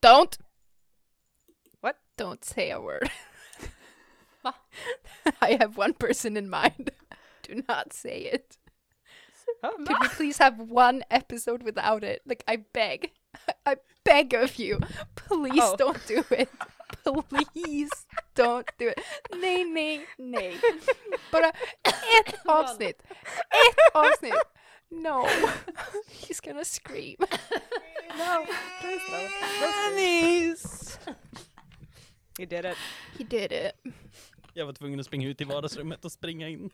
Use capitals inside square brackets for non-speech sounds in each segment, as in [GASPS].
Don't! What? Don't say a word. [LAUGHS] I have one person in mind. [LAUGHS] Do not say it. Oh, Could [LAUGHS] we please have one episode without it? Like, I beg. [LAUGHS] I beg of you. Please Oh. don't do [LAUGHS] it. Please don't do it. Nej, nej, nej. [COUGHS] Bara ett avsnitt. Ett avsnitt. No. [LAUGHS] He's gonna scream. no, please Typ don't. Don't do it. Dennis! You did it. He did it. Jag var tvungen att springa ut i vardagsrummet och springa in.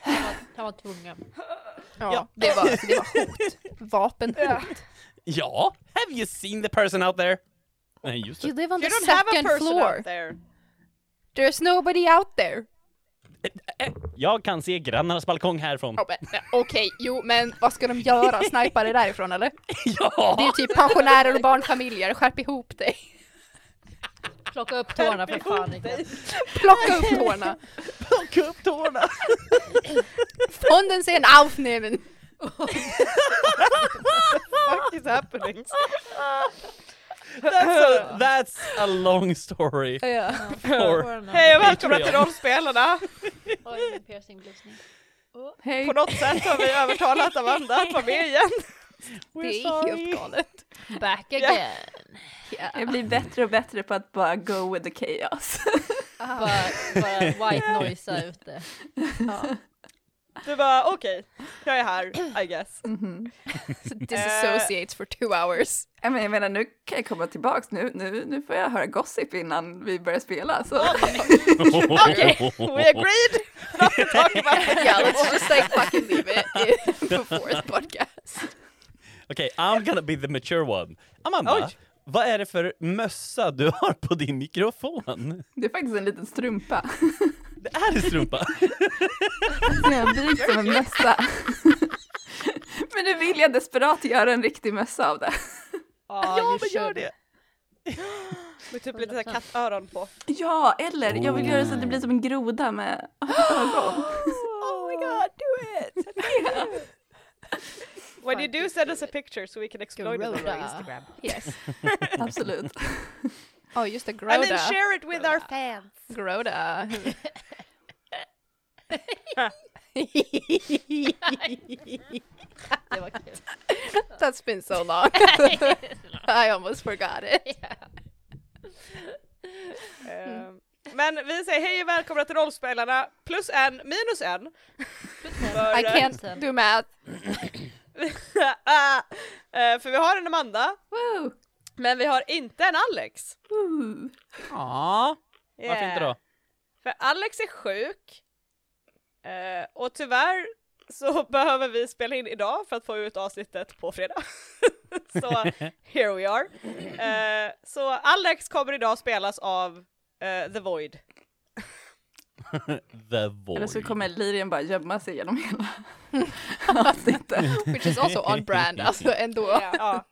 Han var, han var tvungen. Ja, Ja. Det, var, det [LAUGHS] var hot. Vapenhot. Ja, have you seen the person out there? Nej, just You det. live on You the don't have a second person floor. out there. There's nobody out there. Eh, eh, Jag kan se grannarnas balkong härifrån. Ja, men, eh, Okej, jo men vad ska de göra? [LAUGHS] Snipa det därifrån eller? Det är ju Ja! typ pensionärer och barnfamiljer, skärp ihop dig. Plocka upp tårna för fan. Niklas. Plocka upp tårna. Plocka upp tårna. [LAUGHS] Fonden ser en aufnehmen. What is happening? That's a, Alltså, that's a long story. Ja. For... Hej och välkomna Patreon. till Rollspelarna! Oj, min piercingblösning. Hej, På något sätt [LAUGHS] har vi övertalat Amanda att vara med igen. det är helt galet. Back Ja. again. Jag blir bättre och bättre på att bara go with the chaos. Ah. Bara, bara white noise ute. Ja. Du bara okej, jag är här, I guess. Mhm. So disassociates for two hours. Ja, men Jag menar nu kan jag komma tillbaks, nu, nu, nu får jag höra gossip innan vi börjar spela. [LAUGHS] Så. We agreed not to talk about it [LAUGHS] Yeah, let's just like fucking leave [LAUGHS] it for fourth podcast. Okej, I'm gonna be the mature one. Amanda, Oj. vad är det för mössa du har på din mikrofon? Det är faktiskt en liten strumpa. Det är en strumpa. Snöblyg som [LAUGHS] en mössa. Men nu vill jag desperat göra en riktig mössa av det. Ja, you men gör should. det! Ah, Med typ lite så här kattöron på. Ja, eller jag vill göra så att det blir som en groda [LAUGHS] med ögon. Oh my god, do it! When you do send us a picture so we can exploit it on our Gorilla. Instagram. Yes. Absolut. Oh, just a And then groda. share it with our fans! Groda. Det var kul. That's been so long. I almost forgot it. Ehm, Men vi säger hej och välkomna till Rollspelarna, plus en, minus en. För, I eh, [LAUGHS] can't do math. eh, för vi har en Amanda, Woo! men vi har inte en Alex. Woo! Ja, varför Yeah. inte då? För Alex är sjuk. Eh, och tyvärr så [LAUGHS] behöver vi spela in idag för att få ut avsnittet på fredag. [LAUGHS] så here we are. Eh, så Alex kommer idag spelas av eh, The Void. The void. Eller så kommer lirien bara gömma sig genom [LAUGHS] hela avsnittet. Which is also on brand, [LAUGHS] alltså ändå. Ja.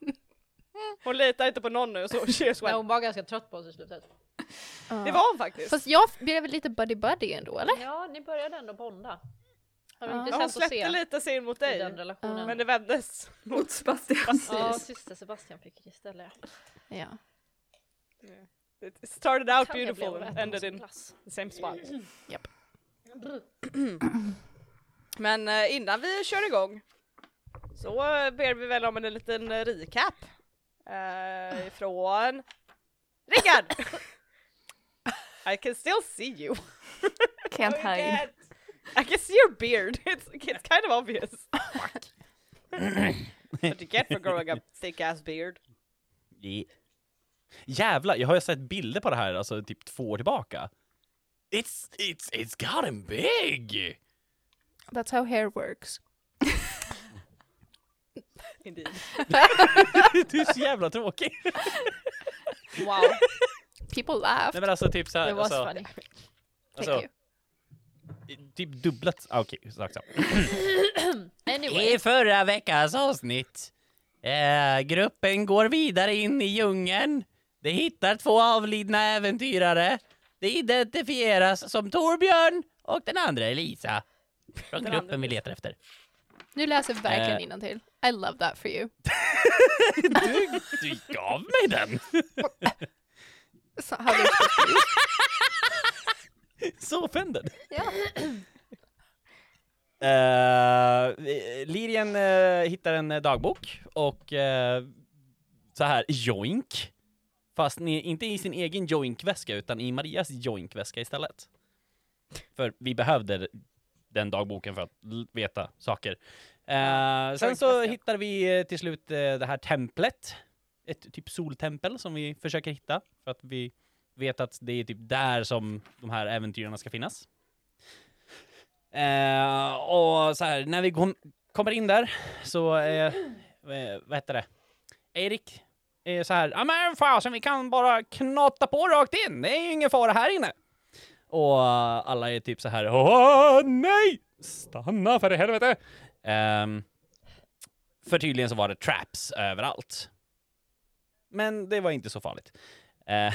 Hon litar inte på någon nu så cheers Men well. hon var ganska trött på oss i slutet. Ja. Det var hon faktiskt. Uh. Fast jag blev väl lite buddy-buddy ändå, eller? Ja, ni började ändå bonda. Har du Ja. inte Ja, Hon sett och se släppte i lite sig in mot den dig. relationen? Men det vändes. Mot Sebastian. Ja, sista Sebastian fick det istället. Ja. It started out Kan jag bli beautiful and orätt ended på in plats? the same spot. Japp. Men eh, innan vi kör igång så eh, ber vi väl om en liten eh, recap eh, från Rickard! [LAUGHS] I can still see you. Can't hide. I can see your beard. It's, it's kind of [LAUGHS] obvious. What you get for growing a thick ass beard. Yeah. Jävlar, jag har ju sett bilder på det här alltså typ två år tillbaka. It's, it's, it's gotten big! [LAUGHS] That's how hair works. Indeed. du är så jävla tråkig. Wow, People laughed. Nej men alltså typ såhär, det var alltså, funny. Thank alltså you. typ dubblat, ah, okej, okay, Anyway, förra veckans avsnitt. Eh, gruppen går vidare in i djungeln. De hittar två avlidna äventyrare. De identifieras som Torbjörn och den andra är Lisa. Från andra gruppen vi letar efter. Nu läser jag verkligen innantill. I love that for you. Du, du gav mig den! Så hade jag förstått det. Så offended. [CLEARS THROAT] Ja. Uh, Lirien eh, hittar en eh, dagbok och eh, så här joink. Fast ni, inte i sin egen joinkväska utan i Marias joinkväska istället. För vi behövde den dagboken för att l- veta saker. Eh, sen så joinkväska. hittar vi eh, till slut eh, det här templet. Ett typ soltempel som vi försöker hitta för att vi vet att det är typ där som de här äventyrarna ska finnas. Eh, och så här, när vi kom, kommer in där så, eh, eh, vad heter det, Erik är så här, ja men fasen vi kan bara knata på rakt in, det är ju ingen fara här inne. Och alla är typ så här, åh nej, stanna för i helvete. Ehm, för tydligen så var det traps överallt. Men det var inte så farligt. Eh,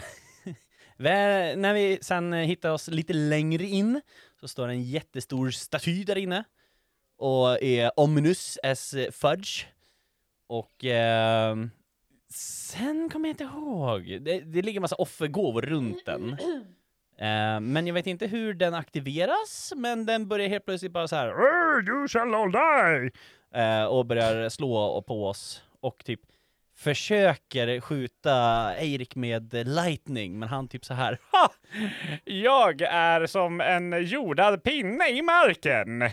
vä- när vi sen eh, hittar oss lite längre in så står en jättestor staty där inne och är ominous as fudge. Och ehm, sen kommer jag inte ihåg. Det, det ligger en massa offergåvor runt den. Eh, men jag vet inte hur den aktiveras, men den börjar helt plötsligt bara så här "Rrr, You shall all die! Eh, och börjar slå på oss och typ försöker skjuta Eirik med lightning, men han typ så här ha! Jag är som en jordad pinne i marken!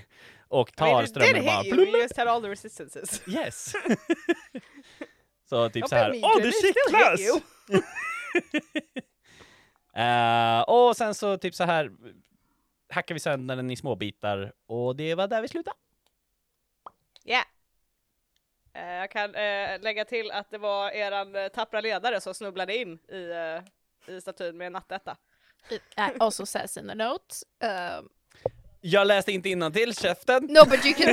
Och I mean, tar it strömmen och did bara hit you, you just had all the resistances. Yes. [LAUGHS] så typ Up så här. in me, Åh, Jenny, det still hit kittlas! you." [LAUGHS] Eh, och sen så typ så här hackar vi sönder den i små bitar och det var där vi slutade. Yeah. Eh, jag kan eh, lägga till att det var eran eh, tappra ledare som snubblade in i, eh, i statyn med en nattetta. Äh, I also says in the note. [LAUGHS] Um, Jag läste inte innan till käften. no but you can...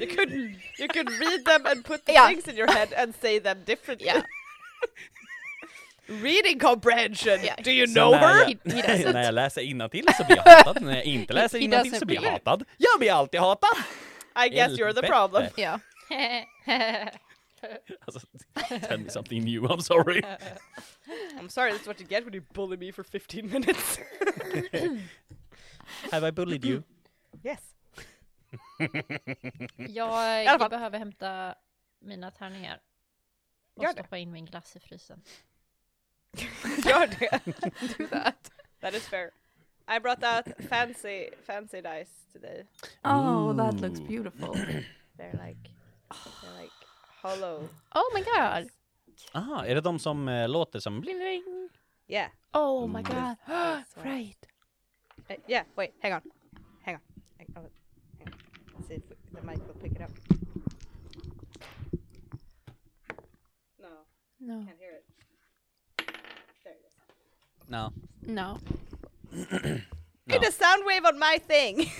You could, you could read them and put the Ja. things in your head and say them differently. Yeah, Reading comprehension! Yeah. Do you Så know när her? jag, He- he doesn't. [LAUGHS] när jag läser innantill så blir jag hatad, när jag inte läser He innantill doesn't så blir jag really. hatad. Jag blir alltid hatad! I guess you're the Helvete. problem. yeah. Alltså, tell me something new, I'm [LAUGHS] sorry. I'm sorry, this is what you get when you bully me for 15 minutes. Have I bullied you? yes. Jag, [LAUGHS] I alla fall. jag behöver hämta mina tärningar. Och Gör det. stoppa in min glass i frysen. [LAUGHS] Gör det. [LAUGHS] Do that. That is fair. I brought out fancy, fancy dice today. Oh, that looks Ooh. beautiful. They're like, they're like hollow. Oh my god. Ah, är det de som eh, låter som bling bling? Yeah. Oh my Mm. god. [GASPS] That's what- right. Uh, yeah, wait, hang on. Hang on. Hang on. Hang on. Let's see if we, the mic will pick it up. No, No. can't hear it. There it is. No. No. No. Did a sound wave on my [LAUGHS] thing.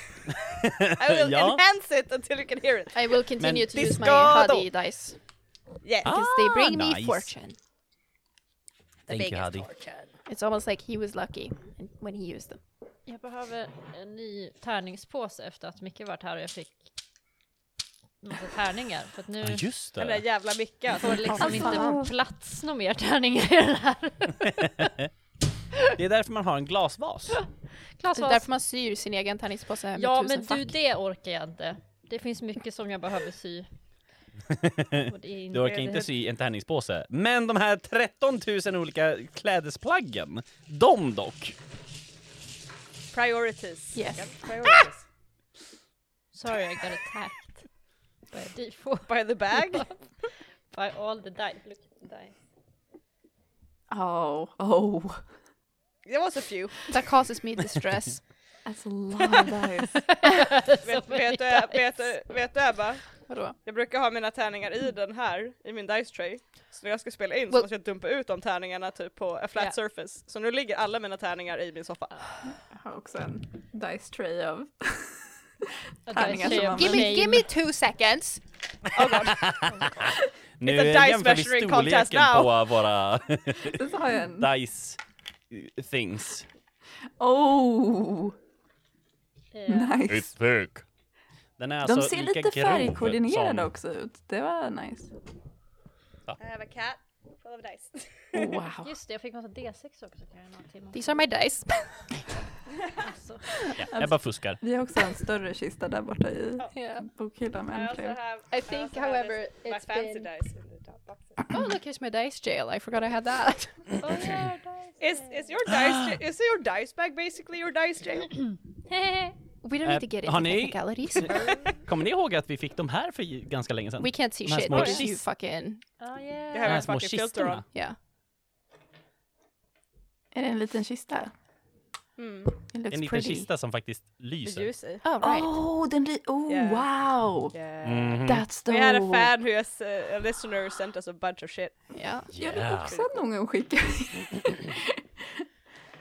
I will ja. enhance it until you can hear it. I will continue to use my Discado. huddy dice. Yes. Because they bring Ah, me nice. fortune. Thank you, Hadi. It's almost like he was lucky when he used them. Jag behöver en ny tärningspåse efter att Micke varit här och jag fick massa tärningar. För att nu Mm. Ja, just Den där det. jävla alltså, [LAUGHS] Mickan. får det liksom inte plats några mer tärningar i den här. Det är därför man har en glasvas. Klas, Det är därför man syr sin egen tärningspåse med Ja, tusen men du, fack. det orkar jag inte. Det finns mycket som jag [LAUGHS] behöver sy. Och det är inte- Du orkar inte sy en tärningspåse. Men de här 13 000 olika klädesplaggen, de dock. Priorities. Yes. Got Priorities. Sorry, I got attacked. By a D4. By [LAUGHS] the bag. By all the die. Look at the [LAUGHS] die. Oh, oh. There was [LAUGHS] a few. That causes me [LAUGHS] distress. That's a lot of dice. Vet, vet, du, vet, du, vet du Ebba? Vadå? Jag brukar ha mina tärningar i den här, i min dice tray. Så när jag ska spela in så Well- måste jag dumpa ut de tärningarna typ på a flat Ja. surface. Så nu ligger alla mina tärningar i min soffa. [LAUGHS] Jag har också en dice tray av... Tärningar som man Give vill. me, give me two seconds! Nu It's a dice jämför vi measuring contest storleken på våra [LAUGHS] Så har jag en... dice eh, things. Oh, Eh, nice. thick. Den är De alltså ser lika lite grov färgkoordinerade som- också ut. Det var nice. I have a cat full of dice. Wow. Just det, jag fick massa D6 också kan jag någon timme. These are my dice. Alltså, Ja, jag bara [LAUGHS] fuskar. Vi har också en större kista där borta i yeah. [LAUGHS] bokhyllan med I en also fler. have, I think, also have however, this- my it's fancy been- dice in the top box. Oh, look, here's my dice jail. I forgot I had that. [LAUGHS] oh, [LAUGHS] yeah, dice. Is is your dice Ah. is your dice bag basically your dice jail? Mm. We don't Uh, need to get into honey? technicalities. Kommer ni ihåg att vi fick de här för ju- ganska länge sedan? we can't see Nice shit more because you cheese. fucking oh, Det yeah. här var de här en [LAUGHS] små fucking filter on. kistorna. yeah. Är det en liten kista? Mm. It looks En liten pretty. kista som faktiskt lyser. Ljus i. Oh right. Oh, den ri- Oh, Yeah. wow! Yeah. Mhm. That's the... We had a fan who has uh, a listener who sent us a bunch of shit. Yeah. Jag vill Yeah. också att någon skickar. [LAUGHS]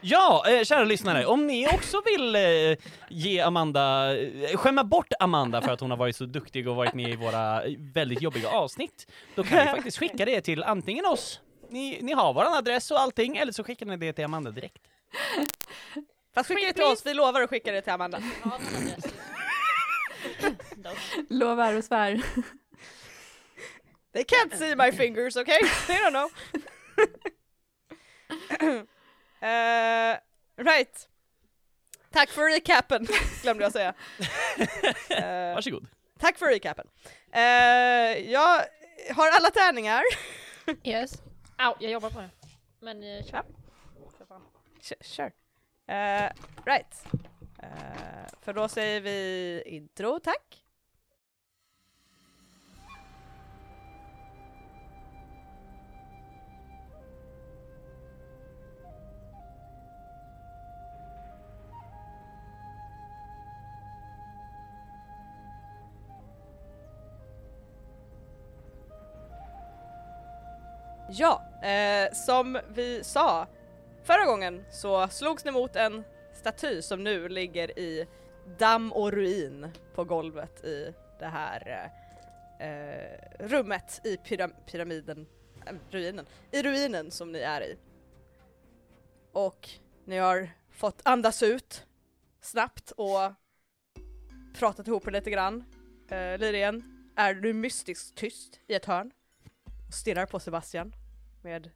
Ja, eh, kära lyssnare, om ni också vill eh, ge Amanda, eh, skämma bort Amanda för att hon har varit så duktig och varit med i våra eh, väldigt jobbiga avsnitt, då [LAUGHS] kan ni faktiskt skicka det till antingen oss, ni, ni har vår adress och allting, eller så skickar ni det till Amanda direkt. Fast skicka det till oss, vi lovar att skicka det till Amanda. Ja, den här adressen. Dock. Lovar och svär. They can't see my fingers, okay? They don't know. Eh, right. Tack för recapen, glömde jag säga. Eh, Varsågod. tack för recapen. Eh, jag har alla tärningar. Yes. Au, jag jobbar på det. Men eh, kör. För fan. Kö- Kör. Eh, right. Eh, för då säger vi intro, tack. Ja, eh, som vi sa Förra gången så slogs ni mot en staty som nu ligger i damm och ruin på golvet i det här eh, eh, rummet i pyram- pyramiden, eh, ruinen, i ruinen som ni är i. Och ni har fått andas ut snabbt och pratat ihop er lite grann. Eh, Lirien är nu mystiskt tyst i ett hörn och stirrar på Sebastian med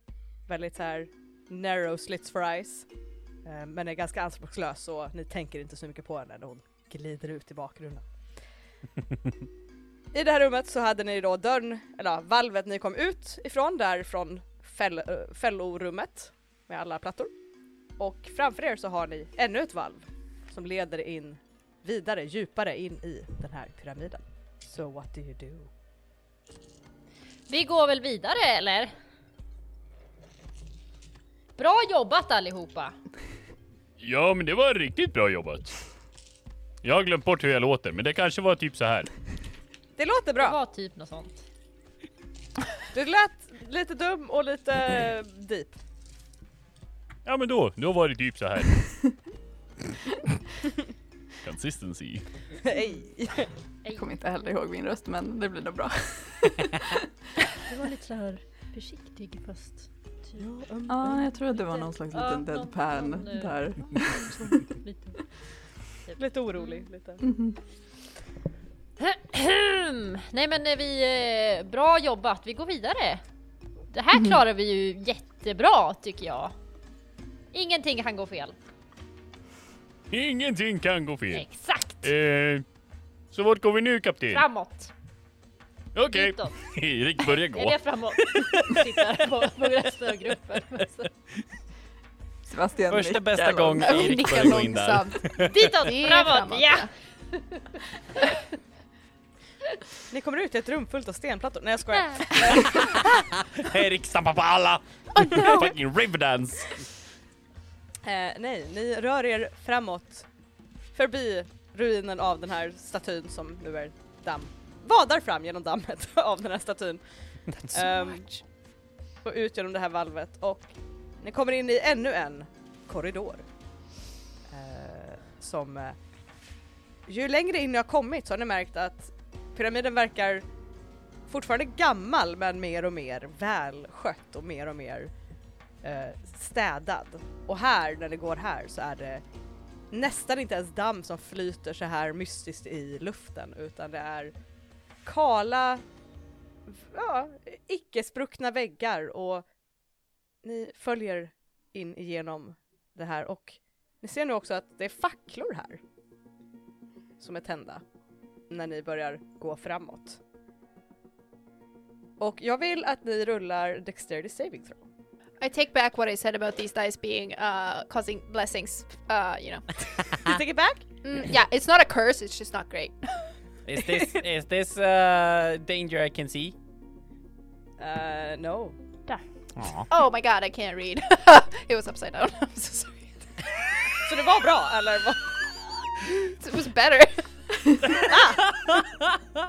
väldigt så här narrow slits for eyes. Eh, Men är ganska anspråkslös så ni tänker inte så mycket på henne när hon glider ut i [LAUGHS] bakgrunden. I det här rummet så hade ni då dörren, eller ja, valvet ni kom ut ifrån därifrån fäll, eh, fällorummet med alla plattor. Och framför er så har ni ännu ett valv som leder in vidare, djupare in i den här pyramiden. So what do you do? Vi går väl vidare eller? Bra jobbat allihopa! Ja, men det var riktigt bra jobbat. Jag har glömt bort hur jag låter, men det kanske var typ så här. Det låter Det bra. var typ något sånt. Du lät lite dum och lite [LAUGHS] eh, deep. Ja, men då, då var det [LAUGHS] typ så här. Consistency. Hej! Jag kommer inte heller ihåg min röst, men det blir nog bra. Du var lite såhär försiktig fast... Ja, jag tror att det var någon slags Ja, liten någon- deadpan någon, eh, där. Lite. Lite orolig. Lite. Nej men eh, vi, eh, bra jobbat, vi går vidare. Det här Mhm. klarar vi ju jättebra tycker jag. Ingenting kan gå fel. Ingenting kan gå fel. Exakt! Eh, så vart går vi nu, kapten? Framåt! Okej. Ditåt. [LAUGHS] Erik börjar Är gå. det [LAUGHS] framåt? Tittar på, på resten av gruppen. Sebastian Första nickar bästa och- gång Erik Nickar börjar gå in där. långsamt. Ditåt, Det är framåt, framåt, ja! Ni kommer ut i ett rum fullt av stenplattor. Nej jag skojar. Erik stampar på alla! Fucking riverdance! Eh, nej, ni rör er framåt. Förbi ruinen av den här statyn som nu är damm. Vadar fram genom dammet [LAUGHS] av den här statyn. Ehm, och ut genom det här valvet och ni kommer in i ännu en korridor. Eh, som... Eh, ju längre in ni har kommit så har ni märkt att pyramiden verkar fortfarande gammal men mer och mer välskött och mer och mer eh, städad. Och här, när det går här så är det nästan inte ens damm som flyter så här mystiskt i luften utan det är kala, ja, icke spruckna väggar och ni följer in igenom det här och ni ser nu också att det är facklor här som är tända när ni börjar gå framåt. Och jag vill att ni rullar Dexterity Saving Throw. I take back what I said about these dice being uh, causing blessings. Uh, you [LAUGHS] know, You take it back? mm, yeah, it's not a curse. It's just not great. Is this is this uh, danger I can see? Uh, no. Oh my god, I can't read. [LAUGHS] it was upside down. [LAUGHS] I'm so sorry. Så det var bra eller? vad? It was better.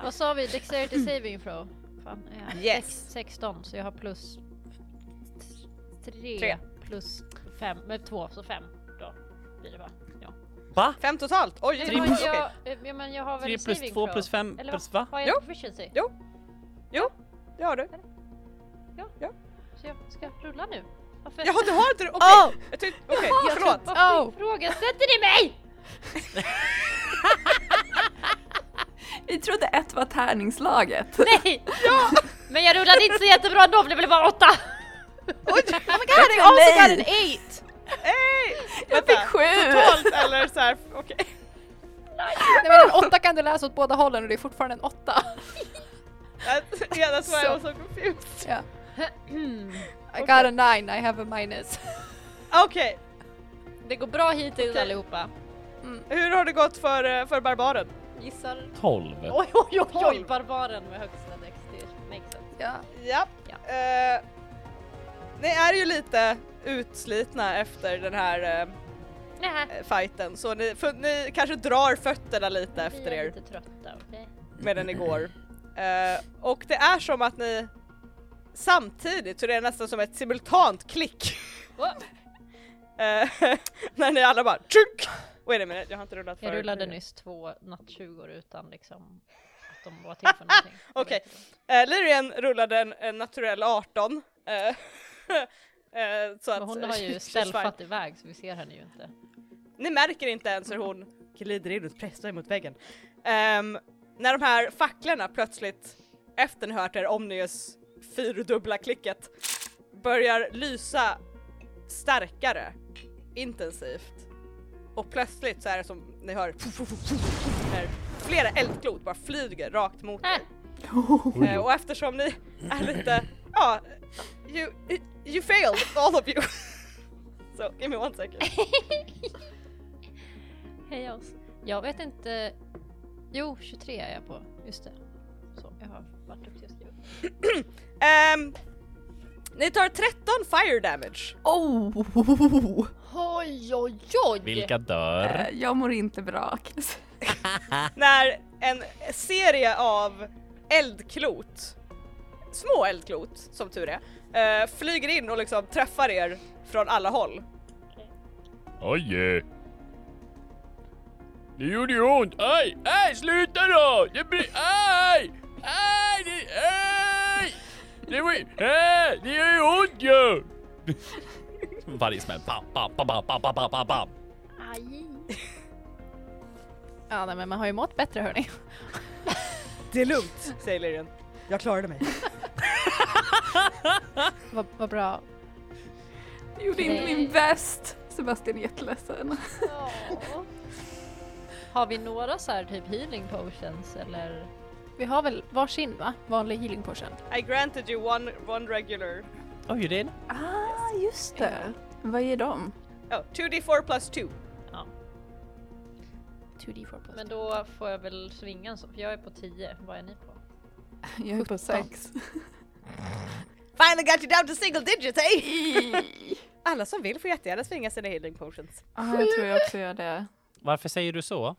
Vad sa vi? Dexterity saving throw? Fan, ja. Yes. Sex- 16 så jag har plus 3 Tre. plus 5, med 2 så 5 då blir det va? Ja. Va? Fem totalt? Oj, oj, Men oj, har okej. jag, eh, ja, men jag har väl 3 plus saving 2 throw? plus 5 Eller plus va? Har Jo. jag proficiency? Jo. Jo, det har du. Så jag ska rulla nu? Varför? Jaha, du har inte det? Okej, Oh! jag tyckte- okej, Jag förlåt. trodde- Varför Oh. ifrågasätter ni mig? Vi trodde ett var tärningslaget. [LAUGHS] Nej! Ja! Men jag rullade inte så jättebra ändå, det blev bara 8! Oh my god, I also got an eight. Hej! Jag Vänta, fick sju! Totalt eller så här, okej. Nej men en [LAUGHS] åtta kan du läsa åt båda hållen och det är fortfarande en åtta. That- Yeah, that's why I Så. was so confused. Yeah. Hmm. I got a nine, I have a minus. Okej, Det går bra hittills Okej. allihopa. hur har det gått för, eh, för barbaren? Gissar 12. Oj oj oj! oj. oj. Barbaren med högsta dexter. Makes sense. [LAUGHS] Ja. Japp. Ja. Eh, ni är ju lite utslitna efter den här eh, Nähä. fighten så ni, för, ni kanske drar fötterna lite efter Vi er är lite trötta, okej? medan ni går. Eh, och det är som att ni samtidigt, så det är nästan som ett simultant klick Åh, [LAUGHS] Eh, när ni alla bara tjunk! Wait a minute, jag har inte rullat för Jag rullade nyss två nattjugor utan liksom att de var till för någonting. [LAUGHS] Jag Okej. vet inte. Eh, Lyrian rullade en, en naturell 18. eh, [LAUGHS] eh, så att, Men hon har [LAUGHS] ju [LAUGHS] she's ställfat iväg så vi ser henne ju inte. fine. Ni märker inte ens hur hon glider in och pressar mot väggen. Ehm, när de här facklorna plötsligt, efter ni hört er Omnius fyrdubbla klicket, börjar lysa starkare, intensivt. Och plötsligt så är det som ni hör när flera eldklot bara flyger rakt mot er. Äh, Oj Eh, då. och eftersom ni är lite, ja, you, you failed all of you. [LAUGHS] so give me one second. Heja oss. Jag vet inte. Jo, 23 är jag på. Just det. Så, jag har varit duktig och skrivit. Ehm, ni tar 13 fire damage. Oh! Oj, oj, oj! Vilka dör? Eh, Jag mår inte bra. när en serie av eldklot, små eldklot som tur är, eh, flyger in och liksom träffar er från alla håll. Oj! eh. Det gjorde ju ont! Aj! Aj! Sluta då! Det blir... Aj! Aj! Det... Aj! Det var ju... Aj! Det gör ju ont ju! [LAUGHS] Varje smäll. Bam, bam, bam, bam, bam, bam, bam, bam. Aj. Ja, nej, men man har ju mått bättre hörni. [LAUGHS] Det är lugnt, säger Lirian. Jag klarade mig. Vad vad bra. Jag gjorde inte min bäst. Sebastian är jätteledsen. Har vi några så här typ healing potions eller? Vi har väl varsin va? Vanlig healing potion. I granted you one, one regular, Eh, Oj, det är Ah, just det. Vad ger de? oh, 2d4 plus 2. 2D4 plus. Men då får jag väl svinga en sån, för jag är på 10. Vad är ni på? Jag är på sex. Finally got you down to single digits, hey! [LAUGHS] Alla som vill får jättegärna svinga sina healing potions. Ah, jag tror jag också gör det. Varför säger du så?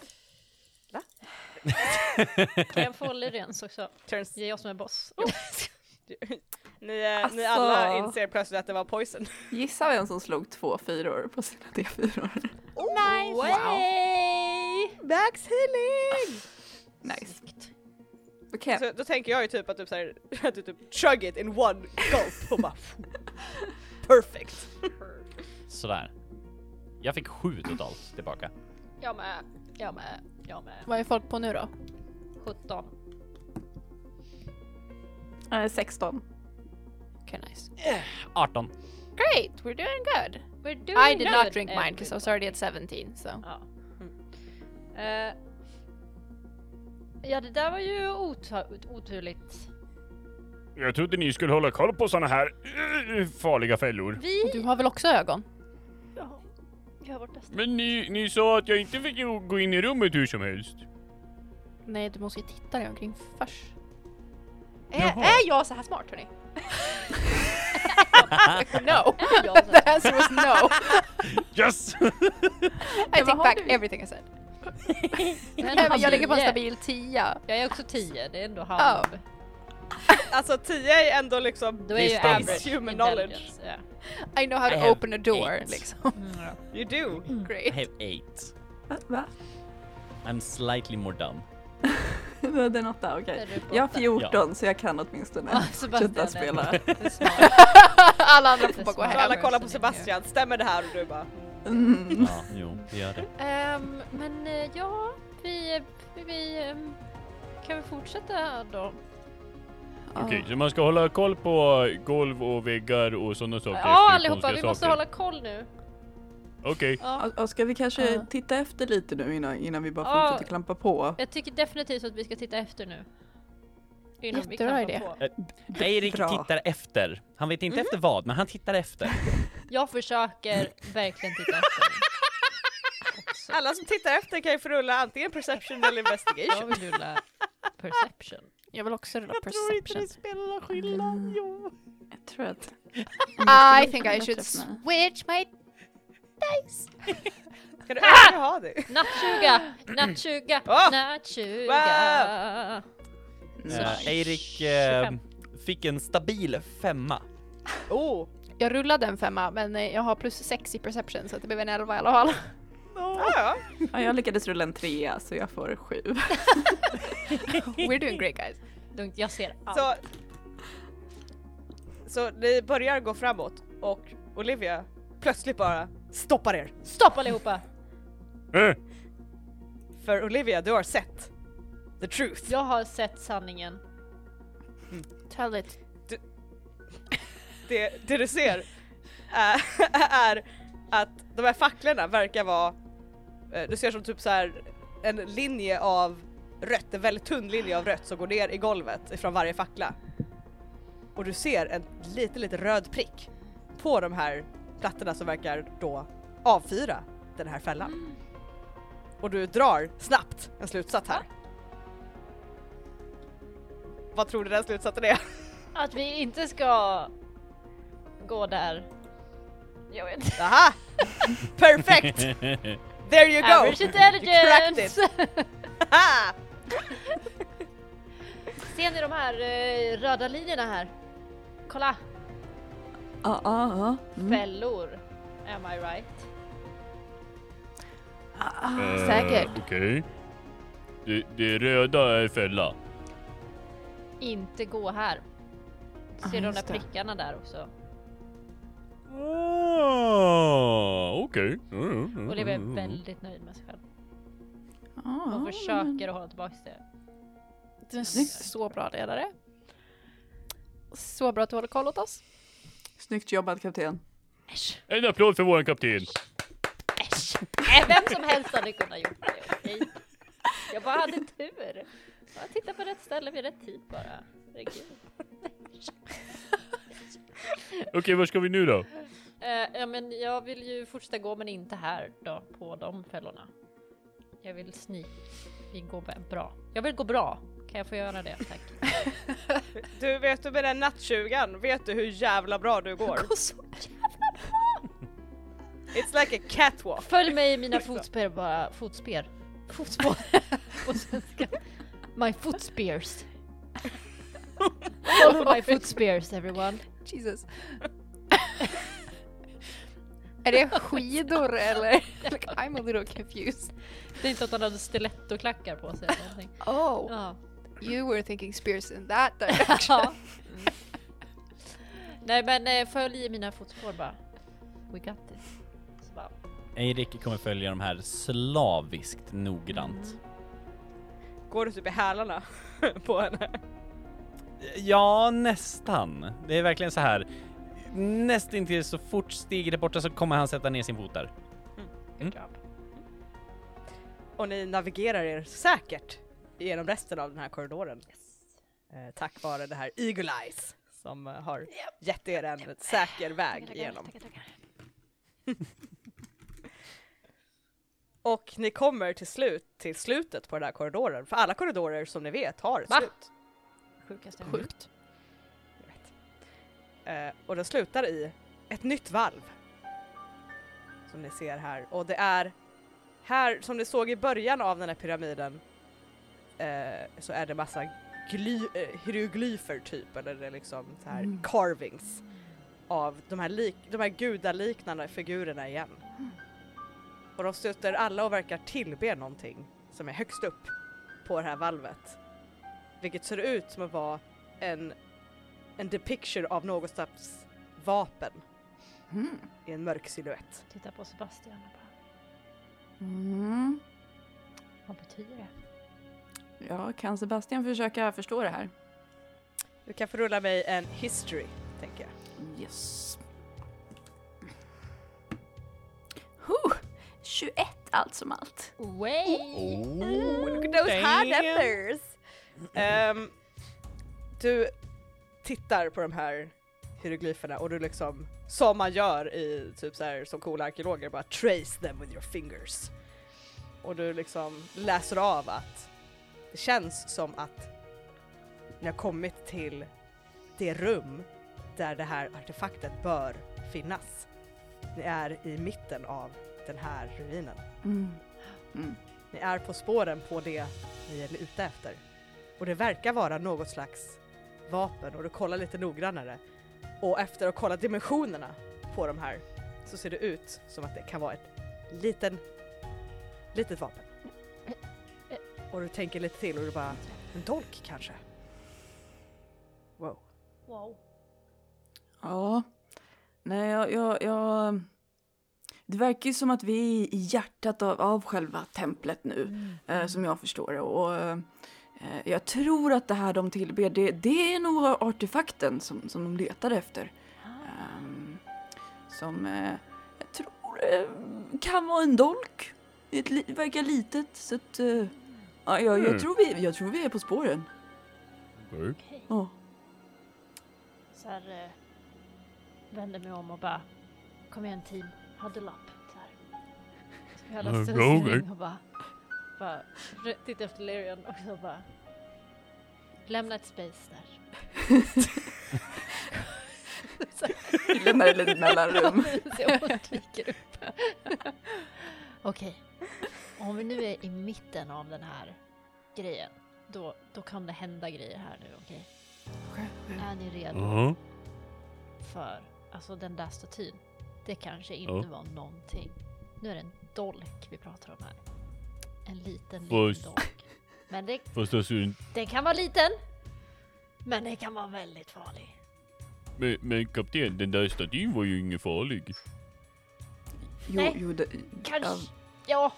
Kan jag få Lyrians också? Turns. Det är jag som är boss. Oh, Ni, eh, ni Alltså. alla inser plötsligt att det var poison. Gissa vem som slog två fyror på sina D4. Nice! Max healing! Nice. Okej. Så då tänker jag ju typ att typ såhär, [LAUGHS] att du typ chug it in one gulp och bara perfect. Sådär. Jag fick sju totalt tillbaka. Jag med, jag med, jag med. Vad är folk på nu då? 17. Eh, 16. Okay, nice. 18. Great, we're doing good. We're doing I did not good, drink mine because I was everybody. already at 17. So. Ja. Eh, ja, det där var ju otur- oturligt. Jag trodde ni skulle hålla koll på såna här eh, farliga fällor. Vi... Du har väl också ögon? Ja, jag har varit nästan. Men ni, ni sa att jag inte fick ju gå in i rummet hur som helst. Nej, du måste ju titta dig omkring först. Jaha. Är, är jag så här smart hörni? [LAUGHS] no, Jag var the answer was no. Yes! I take back everything I [LAUGHS] said. Men [LAUGHS] Nej, men han jag ligger på en tio. stabil 10. Jag är också 10, det är ändå Ja. halv. Alltså 10 är ändå liksom Då är ju Distans. average Human intelligence, Ja. I know how I to have open a door eight. Mm. liksom. You do. I [LAUGHS] Great. have eight. Va? I'm slightly more dumb. Du hade en åtta, okej. Där är du Jag har borta. 14 så jag kan åtminstone Ja, fortsätta Sebastian är [LAUGHS] spela. inte smart. Alla andra får bara gå Smart. Så hem. alla kollar på Sebastian Sebastian, är stämmer det här? Och du bara... Mm. Ja, jo, det gör det. Ehm, men eh, ja, vi, vi ehm, kan vi fortsätta då? Ah. Okej, så man ska hålla koll på golv och väggar och sådana saker? Ja efter allihopa, vi konstiga måste saker. hålla koll nu. Okej. Ja. Och, och ska vi kanske Ja. titta efter lite nu innan, innan vi bara Ja. fortsätter klampa på? Jag tycker definitivt att vi ska titta efter nu. Innan vi Jättebra klampar idé. [LAUGHS] på. Eirik Bra. Mm. tittar efter. Han vet inte efter vad, men han tittar efter. Jag försöker verkligen titta efter. Också. Alla som tittar efter kan ju få rulla antingen perception eller [LAUGHS] Jag investigation. vill rulla perception. Jag vill också rulla inte perception. spelar någon skillnad, jo. Jag tror att... Ah, I think I should switch my... Kan du aldrig ha [LAUGHS] det? Nattsuga! [CLEARS THROAT] Nattsuga! Åh! Oh! Nattsuga! Eh, Eirik eh, fick en stabil femma. Oh! Jag rullade en femma men eh, jag har plus 6 i perception så att det blev en 11 i alla [LAUGHS] fall. Ah, ja. Ja, jag lyckades rulla en trea så jag får sju. We're doing great guys. Lugnt, jag ser allt. Så, så ni börjar gå framåt och Olivia plötsligt bara stoppar er. Stopp allihopa! Eh, För Olivia, du har sett the truth. Jag har sett sanningen. Mm. Tell it. Det, det du ser är, [LAUGHS] är att de här facklorna verkar vara, eh, du ser som typ så här en linje av rött, en väldigt tunn linje av rött som går ner i golvet ifrån varje fackla. Och du ser en lite, lite röd prick på de här plattorna som verkar då avfyra den här fällan. Och du drar snabbt en slutsats här. Vad tror du den slutsatsen är? Att vi inte ska gå där. Jag vet inte. Aha! Perfect! There you go! Average intelligence! Haha! Ser ni de här eh, röda linjerna här? Kolla! Ja, ja, ja. Mm. Fällor. Am I right? eh, Säkert. Okej. Det, det röda är fälla. Inte gå här. Ah, Ser de där just det. prickarna där också? Ah, Okej. Mm, mm, mm, Oliver mm, är mm. väldigt nöjd med sig själv. Ja, Hon men- försöker att hålla tillbaka det. Du är så bra ledare. Så bra att du håller koll åt oss. Snyggt jobbat kapten. Äsch, En applåd för vår kapten. äsch! Äh, Vem som helst hade kunnat gjort det, okej? Jag bara hade tur. Jag tittade på rätt ställe vid rätt tid bara. Herregud. Okej, var ska vi nu då? Eh, ja, men jag vill ju fortsätta gå, men inte här då, på de fällorna. Jag vill sneak. Vi går b- bra. Jag vill gå bra. Kan jag få göra det? Tack. Du vet du med den nattsugan, vet du hur jävla bra du går? It's like a catwalk. Följ mig i mina fotspear bara. Fotspear. Fotspår. [LAUGHS] på svenska. My [LAUGHS] footspears. Follow my footspears everyone. [LAUGHS] Jesus. är det skidor eller? Like, I'm a little confused. Det är inte att han hade stilettoklackar på sig eller någonting. Oh, Ja. you were thinking spears in that direction. [LAUGHS] Ja. Nej men eh, följ i mina fotspår bara. We got this. Så bara, Eirik kommer följa de här slaviskt noggrant. Går du typ i hälarna [LAUGHS] på henne? Eh, Ja, nästan. Det är verkligen så här. Nästintill så fort Stig är borta så kommer han sätta ner sin fot där. Good job. Och ni navigerar er säkert genom resten av den här korridoren. Eh, tack vare det här Eagle Eyes som eh, har gett er en säker väg genom. [LAUGHS] Och ni kommer till slut till slutet på den här korridoren, för alla korridorer som ni vet har ett Va? slut. Sjukaste jag Sjukt. Jag vet. Eh, och den slutar i ett nytt valv. Som ni ser här. Och det är här, som ni såg i början av den här pyramiden, eh, så är det massa gly, eh, hieroglyfer typ, eller det är liksom så här carvings av de här, lik, de här gudaliknande figurerna igen. Och de stöter alla och verkar tillbe någonting som är högst upp på det här valvet. Vilket ser ut som att vara en, en depiction av något slags vapen Mm. i en mörk silhuett. Titta på Sebastian och bara, Mm. vad betyder det? Ja, kan Sebastian försöka förstå det här? Du kan få rulla mig en history, tänker jag. Yes. Huh. 21 allt som allt. Way! Look at those hard Damn. numbers! Ehm, du tittar på de här hieroglyferna och du liksom, som man gör i typ så här som coola arkeologer, bara trace them with your fingers. Och du liksom läser av att det känns som att ni har kommit till det rum där det här artefaktet bör finnas. Ni är i mitten av den här ruinen. Mm. Ni är på spåren på det ni är ute efter. Och det verkar vara något slags vapen och du kollar lite noggrannare. Och efter att ha kollat dimensionerna på de här så ser det ut som att det kan vara ett liten, litet vapen. Och du tänker lite till och du bara, en dolk kanske? Wow. Wow. Ja. Nej, jag, jag, jag... Det verkar ju som att vi är i hjärtat av, av själva templet nu, eh, som jag förstår det. Och, eh, jag tror att det här de tillber, det, det är nog artefakten som, som de letade efter. Ehm, som eh, jag tror eh, kan vara en dolk. Det li- verkar litet, så att... Eh, ja, jag, jag, Mm. tror vi, jag tror vi är på spåren. Okej. Okej. Ja. Så här, eh, vänder mig om och bara, kom igen team, huddle up. Så här. Så vi alla Mm, står okej. i sväng och bara, bara r- tittar efter Lirion och så bara, lämna ett space där. [LAUGHS] så här, Vi lämnar ett litet [LAUGHS] mellanrum. så jag dyker upp. Okej, om vi nu är i mitten av den här grejen, då, då kan det hända grejer här nu, okej? Är ni redo? Ja. För alltså den där statyn, det kanske inte Ja. var någonting. Nu är det en dolk vi pratar om här. En liten, Puss. liten dolk. Men det, Fast alltså, den kan vara liten, men den kan vara väldigt farlig. men, men kapten, den där statyn var ju ingen farlig. Jo, Nej. jo, det, Kanske... Ja,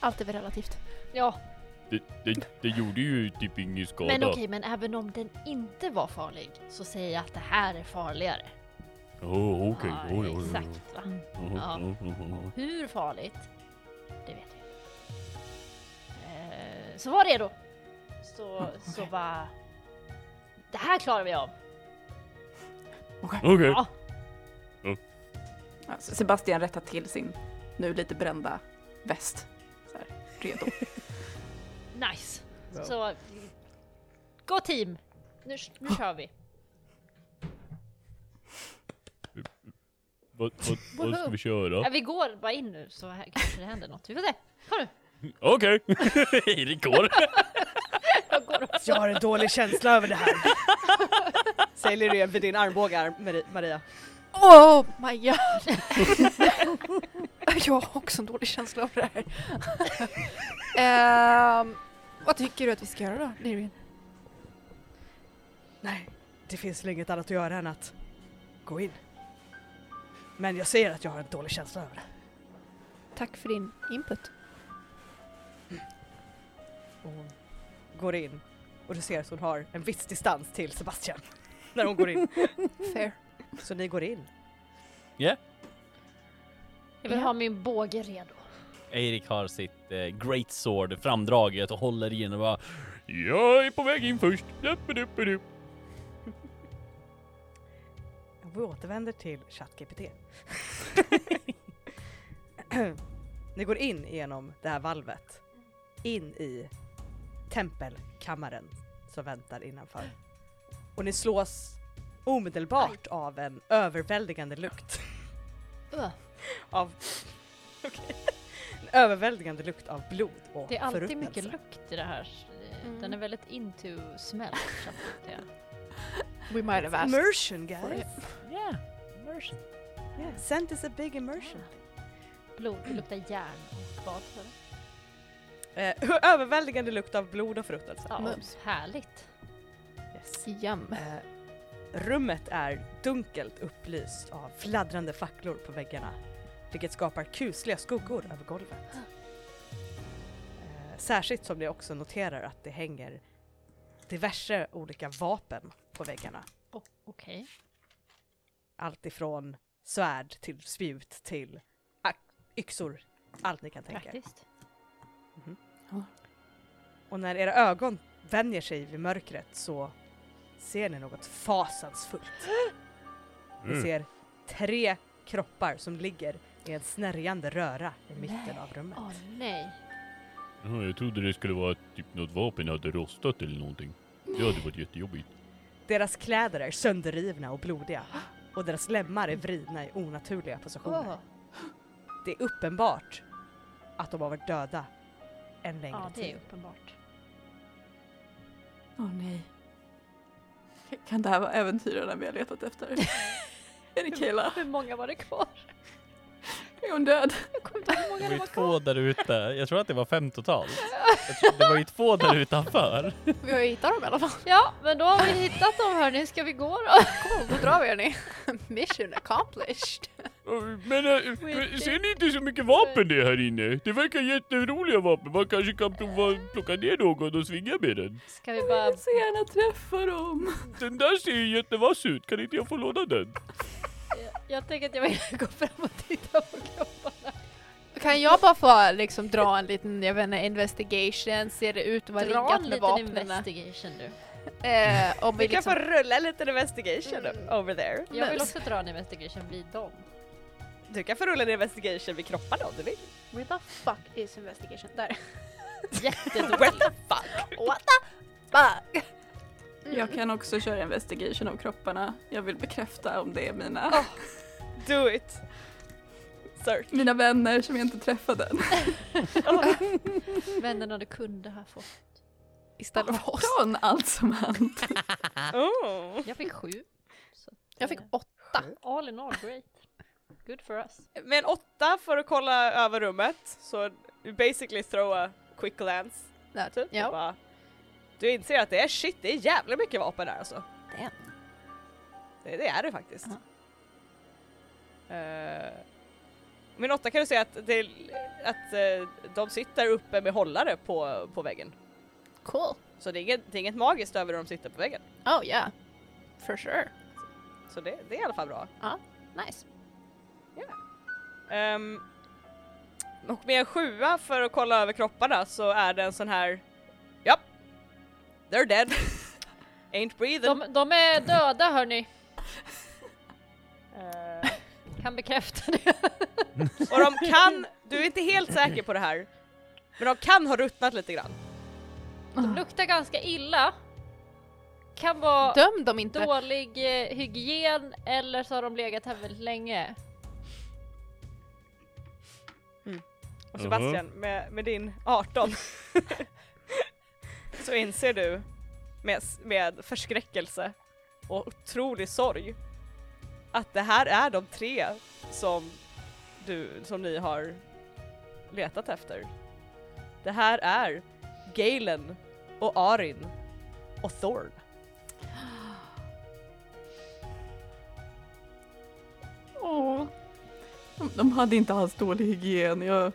Allt är väl relativt. ja. Det, det, det gjorde ju typ ingen skada. Men okej, men även om den inte var farlig så säger jag att det här är farligare. Ja, okej. Ja, Ja, ja, ja, exakt va. ja, ja, ja, ja, ja. Hur farligt? Det vet vi inte. Eh, Så var redo! Så, så bara... Det här klarar vi av! Okej. Ja, Ja, så Alltså, Sebastian rättar till sin nu lite brända väst. Så här, redo. nice! Så... Gå team! Nu, nu kör vi! Vad, vad, vad ska vi Ja, [LAUGHS] köra? vi går bara in nu så här kanske det händer något. Vi får se! Kom nu! Okej. [LAUGHS] Erik går. Jag går och Jag har en dålig känsla över det här. Säger Lirén vid din armbåge, här, Mari- Maria. Oh my god! [LAUGHS] jag har också en dålig känsla av det här. Ehm, vad tycker du att vi ska göra då, Lirvin? Nej, det finns väl inget annat att göra än att gå in. Men jag ser att jag har en dålig känsla över det. Tack för din input. Och hon går in och du ser att hon har en viss distans till Sebastian [LAUGHS] när hon går in. Fair. Så ni går in. Jag vill ha min båge redo. Erik har sitt eh, great sword framdraget och håller i den och bara Jag är på väg in först. Duppidupidup. Och vi återvänder till ChatGPT. [LAUGHS] Ni går in genom det här valvet. In i tempelkammaren som väntar innanför. Och ni slås omedelbart av en överväldigande lukt. Öh, Av... [LAUGHS] Okej. En överväldigande lukt av blod och Det är alltid förruttnelse. mycket lukt i det här. Den är väldigt into smell. så att det- We might have asked. Immersion guys! yeah. Yeah. Scent is a big immersion. Blod, det luktar järn. Vad för det? Eh, överväldigande lukt av blod och förruttnelse. Ah. Ja, Mums. härligt. Yes. Jam. Eh, rummet är dunkelt upplyst av fladdrande facklor på väggarna vilket skapar kusliga skuggor över golvet. Ah. Eh, särskilt som ni också noterar att det hänger diverse olika vapen på väggarna. O- Okej. Allt ifrån svärd till spjut till ax- yxor. Allt ni kan tänka er. Praktiskt. Och när era ögon vänjer sig vid mörkret så ser ni något fasansfullt. Ni ser tre kroppar som ligger i en snärjande röra i mitten Nej. av rummet. Åh nej. Ja, jag trodde det skulle vara typ något vapen hade rostat eller någonting. Det hade varit jättejobbigt. Deras kläder är sönderrivna och blodiga och deras lemmar är vridna i onaturliga positioner. Åh, Det är uppenbart att de har varit döda en längre ja, det är tid. uppenbart. [LAUGHS] Åh nej. Kan det här vara äventyrarna vi har letat [LAUGHS] efter? Är det Kela? Hur många var det kvar? Är hon död? [LAUGHS] Jag kommer inte ihåg hur Det var många det ju var kvar. två där ute. Jag tror att det var fem totalt. Jag tror- Det var ju två där utanför. Vi har ju hittat dem i alla fall. Ja, men då har vi hittat dem hörni. Ska vi gå då? Cool, då drar vi hörni. [LAUGHS] Mission accomplished. Men äh, men ser ni inte så mycket vapen det här inne? Det verkar jätteroliga vapen. Man kanske kan prova plocka ner någon och svinga med den. Ska vi bara... Så gärna träffa dem. Den där ser ju jättevass ut. Kan inte jag få låna den? Jag tänker att jag vill gå fram och titta på kropparna. Kan jag bara få liksom dra en liten, jag vet inte, investigation, ser det ut att vara Dra en riggat med liten vapnen? investigation du. Eh, om vi Vi kan liksom, Mm. få rulla lite investigation over there. Jag vill Mums. också dra en investigation vid dem. Du kan få rulla en investigation vid kropparna om du vill. where the fuck is investigation? Där. Jättedåligt. What the fuck? Mm. Jag kan också köra investigation av kropparna. Jag vill bekräfta om det är mina, [LAUGHS] Do it! Sir. mina vänner som jag inte träffade än. Vännerna du kunde ha fått. Istället för oss. Från allt som hänt. Oh. Jag fick sju. Så att, Jag fick eh, åtta. All in all great. Good for us. Med en åtta för att kolla över rummet, så you basically throw a quick glance. Där, Typ. och Ja. Bara, du inser att det är shit, det är jävligt mycket vapen här alltså. Damn. Det, det är det faktiskt. Eh, med en åtta kan du säga att, det, att eh, de sitter uppe med hållare på, på väggen. Cool. Så det är, inget, det är inget magiskt över hur de sitter på väggen. Oh yeah. For sure. Så det, det är i alla fall bra. Nice. Ehm, och med en sjua för att kolla över kropparna så är det en sån här... Japp! They're [LAUGHS] dead! Ain't breathing! De, de är döda hörni. Eh, Kan bekräfta det. och de kan... Du är inte helt säker på det här. Men de kan ha ruttnat lite grann. De luktar ganska illa. Kan vara Döm dem inte. dålig eh, hygien eller så har de legat här väldigt länge. Och Sebastian, med, med din 18 [LAUGHS] så inser du med, med förskräckelse och otrolig sorg att det här är de tre som, du, som ni har letat efter. Det här är Galen och Arin och Thorn. De, de hade inte alls dålig hygien. Jag...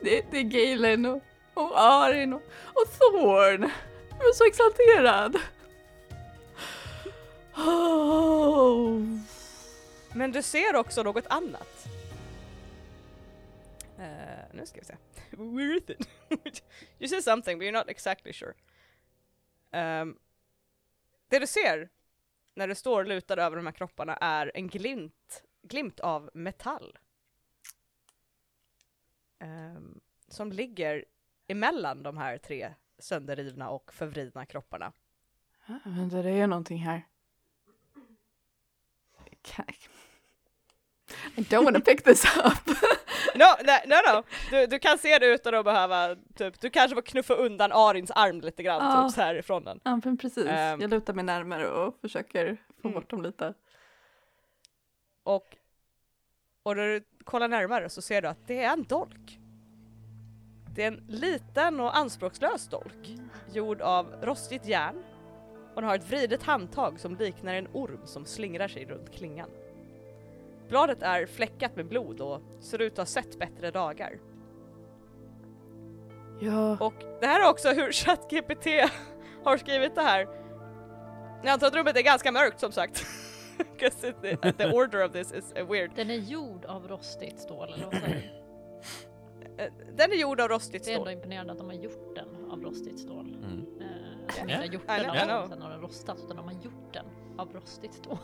Det, det är Galen och, och Arin och, och Thorn. Jag är så exalterad. Oh. Men du ser också något annat. Eh, nu ska vi se. Where is it? [LAUGHS] you see something but you're not exactly sure. Ehm, det du ser när du står lutad över de här kropparna är en glimt, glimt av metall. Ehm, som ligger emellan de här tre sönderrivna och förvridna kropparna. Vänta, det är någonting här. Kan- I don't wanna pick this up. No, nej, no, no. Du, du kan se det utan att behöva, typ, du kanske får knuffa undan Arins arm lite grann, Ja. typ så här ifrån den. Ja, men precis. Ehm. Jag lutar mig närmare och försöker få Mm. bort dem lite. Och, och när du kollar närmare så ser du att det är en dolk. Det är en liten och anspråkslös dolk, gjord av rostigt järn. Och den har ett vridet handtag som liknar en orm som slingrar sig runt klingan. Bladet är fläckat med blod och ser ut att ha sett bättre dagar. Ja, Och det här är också hur [LAUGHS] ChatGPT har skrivit det här. Jag antar att rummet är ganska mörkt som sagt. [LAUGHS] 'Cause it, the order of this is uh, weird. Den är gjord av rostigt stål eller vad säger du? Eh, Den är gjord av rostigt Det är ändå stål. imponerande att de har gjort den av rostigt stål. Mm. Eh, de har inte Yeah. gjort I den know, I av dem, know. sen har den rostat, utan de har gjort den av rostigt stål.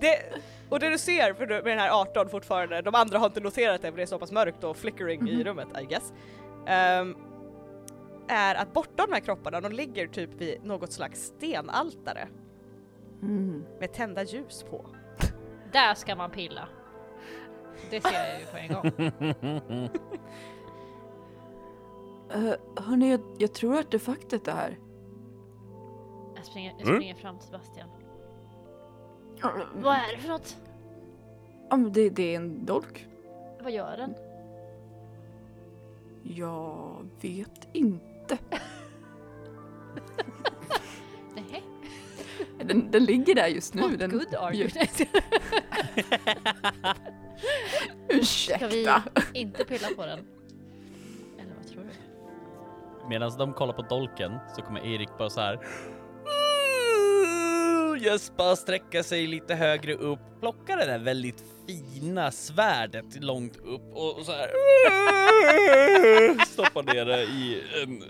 Det, och det du ser för du- med den här 18 fortfarande, de andra har inte noterat det för det är så pass mörkt och flickering i Mhm. rummet I guess. ehm, är att bortom de här kropparna, de ligger typ vid något slags stenaltare mm. med tända ljus på. Där ska man pilla! Det ser jag ju på en gång. Eh, hörni, jag, jag tror artefaktet är här. Jag springer, jag springer fram till Sebastian. Vad Ja, är det för något? men det, det är en dolk. Vad gör den? Jag vet inte. Nej, Den, den ligger där just nu. what Den, good are you? Ska vi ursäkta. inte pilla på den? Eller vad [LAUGHS] tror du? Medan de kollar på dolken så kommer Erik bara så här. Gäspa, sträcka sig lite högre upp, plocka det där väldigt fina svärdet långt upp och så här. Stoppa ner det i en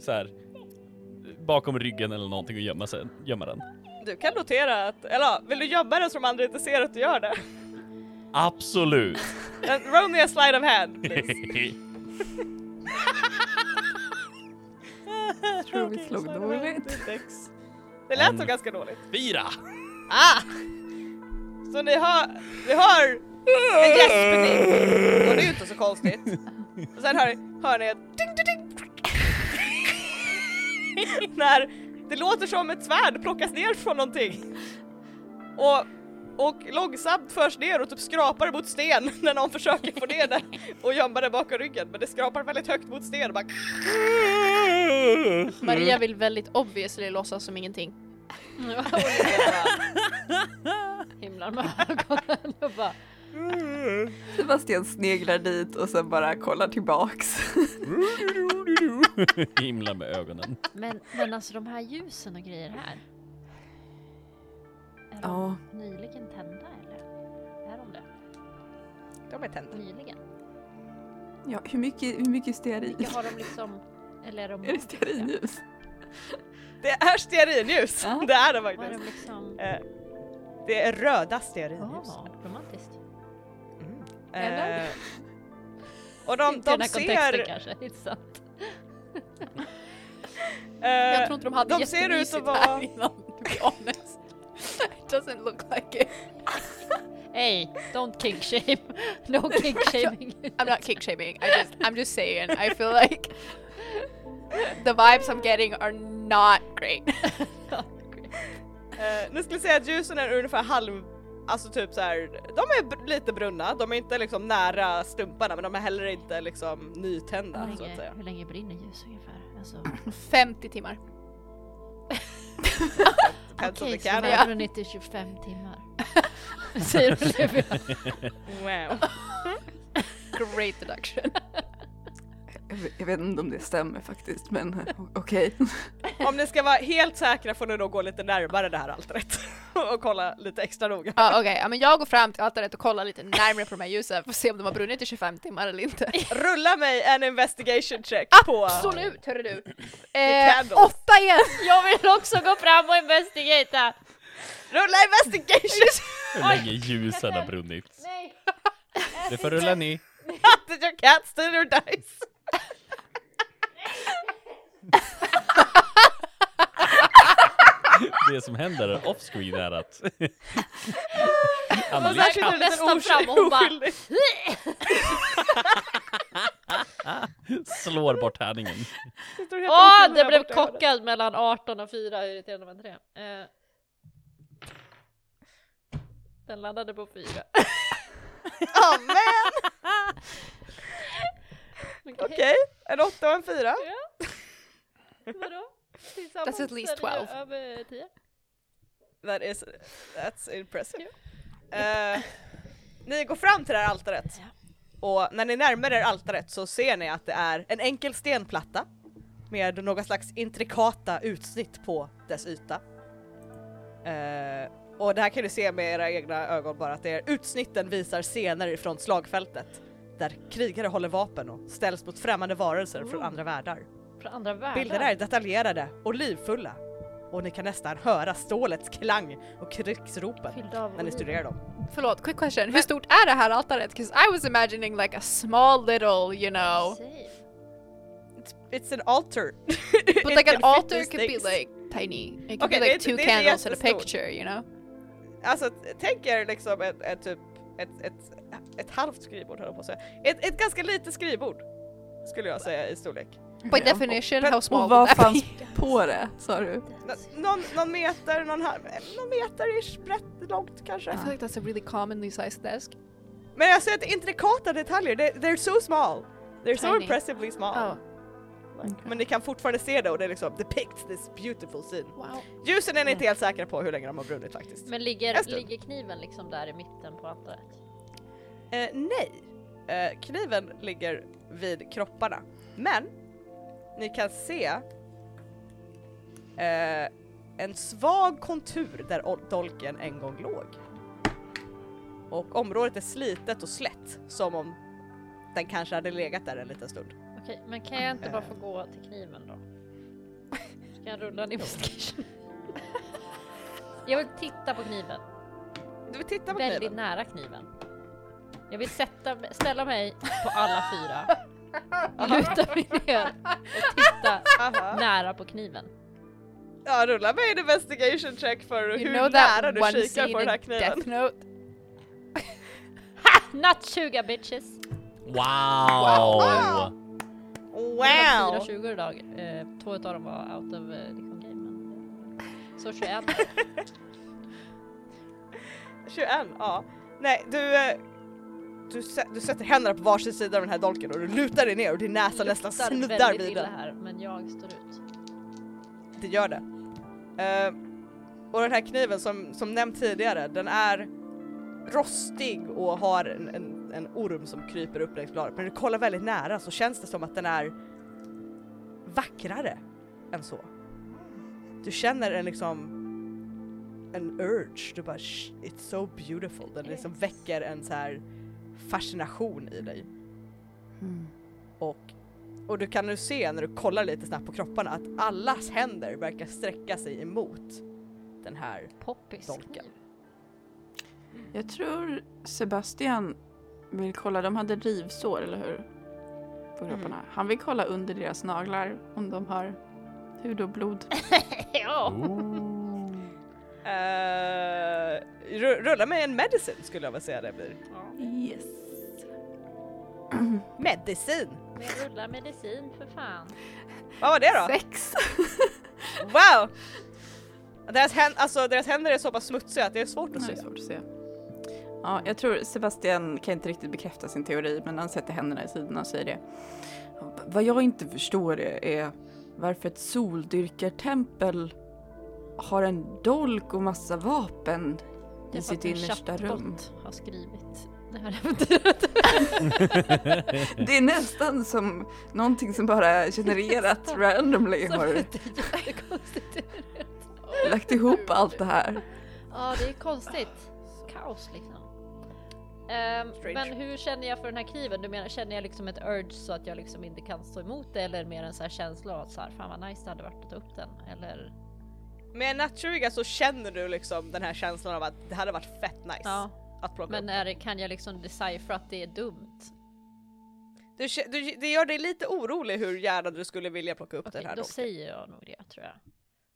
så här bakom ryggen eller någonting och gömma, sig, gömma den. Du kan notera att, eller ja, vill du gömma den så de andra inte ser att du gör det? Absolut. Eh, Roll me a slide of hand please. [LAUGHS] tror vi slog dåligt. Det lät som Mm. ganska dåligt. [LAUGHS] Fyra. Ah! Så ni hör, ni hör en gäspning. Och det är ju inte så konstigt. Och sen hör, hör ni ett ding, ding, [LAUGHS] ding. När det låter som ett svärd plockas ner från någonting. Och, och långsamt förs ner och typ skrapar mot sten [LAUGHS] när någon försöker få ner det och gömma det bakom ryggen. Men det skrapar väldigt högt mot sten. Bara, Maria vill väldigt obviously låtsas som ingenting. Himlar med ögonen och bara Sebastian sneglar dit och sen bara kollar tillbaks. [LAUGHS] Himla med ögonen. Men, men alltså de här ljusen och grejer här. Är de Ja, nyligen tända eller? Är de det? de är tända. [LAUGHS] Nyligen? ja hur mycket, hur mycket Hur stearin? mycket har de liksom? Eller är de... [LAUGHS] Är det stearinljus? Det är stearinljus! Ja. Det är det Ja, Har faktiskt. de liksom... Eh, Det är röda Ja, stearinljus. romantiskt. Eller? Eh, och de, Inte i den de här kontexten ser... kanske. Inte sant. Jag Eh, tror inte de hade de ser ut jättemysigt att här vara... innan, to be honest. It doesn't look like it. Hey, don't kink shame. [LAUGHS] No [LAUGHS] kink shaming. [LAUGHS] I'm not kick shaming. I just, I'm just saying. I feel like the vibes I'm getting are not great. Eh, nu skulle jag säga att ljusen är ungefär halv... Alltså typ så här, de är br- lite brunna, de är inte liksom nära stumparna men de är heller inte liksom nytända Hur så att länge, säga. hur länge brinner ljus ungefär? Alltså, 50 timmar. Depends on Okej, the så de candle. Ja. har brunnit i 25 timmar. [LAUGHS] Säger Olivia. Wow. Great deduction. Jag vet- Jag vet inte om det stämmer faktiskt, men eh, o- okej. Om ni ska vara helt säkra får ni då gå lite närmare det här altaret [LAUGHS] och kolla lite extra noga. Ja okej, ja, men jag går fram till altaret och kollar lite närmare på de här ljusen för att se om de har brunnit i 25 timmar eller inte. Rulla mig en investigation check på... Absolut, hörru [CLEARS THROAT] du! Eh, är candles. åtta igen! [LAUGHS] Jag vill också gå fram och investigata! Rulla [LAUGHS] [LAUGHS] investigation! Hur länge ljusen har brunnit. Nej! Du får rulla ny. Did your cat steal your dice? Det som händer offscreen är att... Och Anneli, sen Alltså, sitter det en Nästan liten fram och hon bara- oskyldig. slår bort tärningen. Sitter och helt Åh, oskyldig det där blev borta i hörnet. kockad mellan 18 och 4, hur irriterande man inte det? Eh. Den landade på 4. Ja, men [LAUGHS] Okej, Okej, en åtta och en fyra. vadå? Tillsammans That's at least är det ju 12. över 10. That is, that's impressive. Eh, ni går fram till det här altaret och när ni närmar er altaret så ser ni att det är en enkel stenplatta med några slags intrikata utsnitt på dess yta. Eh, och det här kan du se med era egna ögon bara att det är, utsnitten visar scener ifrån slagfältet där krigare håller vapen och ställs mot främmande varelser från andra världar. Från andra världar. Bilderna är detaljerade och livfulla och ni kan nästan höra stålets klang och krigsropen Fyllda av när ni liv. studerar dem. Förlåt, quick question. Hur stort är det här altaret? 'Cause I was imagining like a small little, you [LAUGHS] know. Same. It's, it's an altar. But It like an can fit altar these could be things. like tiny. It could be Okej, det är like inte- two det är inte candles in a jättestort. picture, you [LAUGHS] know. Alltså t- tänk er liksom ett, ett typ ett, ett, ett halvt skrivbord höll jag på att säga. Ett, ett ganska litet skrivbord skulle jag säga i storlek. [LAUGHS] By definition, Men- how Och small would vad that [LAUGHS] be? fanns på det, sa du? Alltså. Nå- någon, någon meter, någon, halv, någon meter ish brett långt kanske. I feel like that's a really commonly sized desk. Men jag ser att intrikata detaljer, they, they're so small. They're so Tiny. impressively small. Oh, Men ni kan fortfarande se det och det är liksom depicts this beautiful scene. wow. Ljusen är ni inte helt säkra på hur länge de har brunnit faktiskt. Men En ligger, stund. ligger kniven liksom där i mitten på altaret? Eh, nej, eh, kniven ligger vid kropparna. Men ni kan se eh, en svag kontur där ol- dolken en gång låg. Och området är slitet och slätt som om den kanske hade legat där en liten stund. Okej, men kan jag inte bara få gå till kniven då? Ska jag rulla en investigation? jag vill titta på kniven. Du vill titta på Väldigt kniven? nära kniven. Jag vill sätta, ställa mig på alla fyra. Luta mig ner och titta Aha. nära på kniven. Ja, rulla med en investigation check för You hur know nära that du one kikar scene på den här in kniven. Death Note? Not sugar bitches! Wow! Jag har Wow! fyra 20 idag. Eh, två utav dem var out of eh, liksom game. men- [LAUGHS] Så 21. 21, ja. Nej, du, eh, du, sä- du sätter händerna på varsin sida av den här dolken och du lutar dig ner och din näsa Alltså, nästan Luktar snuddar väldigt vid illa den. här men jag står ut. Det gör det. Eh, och den här kniven som, som nämnt tidigare, den är rostig och har en, en, en orm som kryper upp längs bladet. Men när du kollar väldigt nära så känns det som att den är vackrare än så. Du känner en liksom en urge, du bara "Shh, it's so beautiful. Den liksom väcker en så här fascination i dig. Mm. Och, och du kan nu se när du kollar lite snabbt på kropparna att allas händer verkar sträcka sig emot den här. Poppis. Dolken. Jag tror Sebastian vill kolla, de hade rivsår, eller hur? På Mm. kropparna. Han vill kolla under deras naglar om de har hud och blod. [LAUGHS] ja. Eh, ru- rulla med en medicin skulle jag vilja säga det blir. Yes. Medicin! Men jag rullar medicin för fan. Vad var det då? Sex! Wow! Deras, hän- alltså, deras händer är så pass smutsiga att det är svårt Det att se. är svårt att se. Ja, jag tror Sebastian kan inte riktigt bekräfta sin teori, men han sätter händerna i sidorna och säger det. Vad jag inte förstår är är varför ett soldyrkartempel har en dolk och massa vapen Det är för I sitt att en innersta chatbot rum. har skrivit [LAUGHS] det här äventyret. Det är nästan som någonting som bara [LAUGHS] genererat randomly Som har inte är jättekonstigt. lagt ihop allt det här. Ja, det är konstigt. Kaos liksom. Ehm, men hur känner jag för den här kniven? Du menar, känner jag liksom ett urge så att jag liksom inte kan stå emot det eller mer en så här känsla av att så här, fan vad nice det hade varit att ta upp den? Eller? Med en nattsuga så känner du liksom den här känslan av att det hade varit fett nice Ja, att plocka men upp. är det, kan jag liksom decipher att det är dumt? Du, kä- du, det gör dig lite orolig hur gärna du skulle vilja plocka upp Okej, den här då dorken. säger jag nog det tror jag.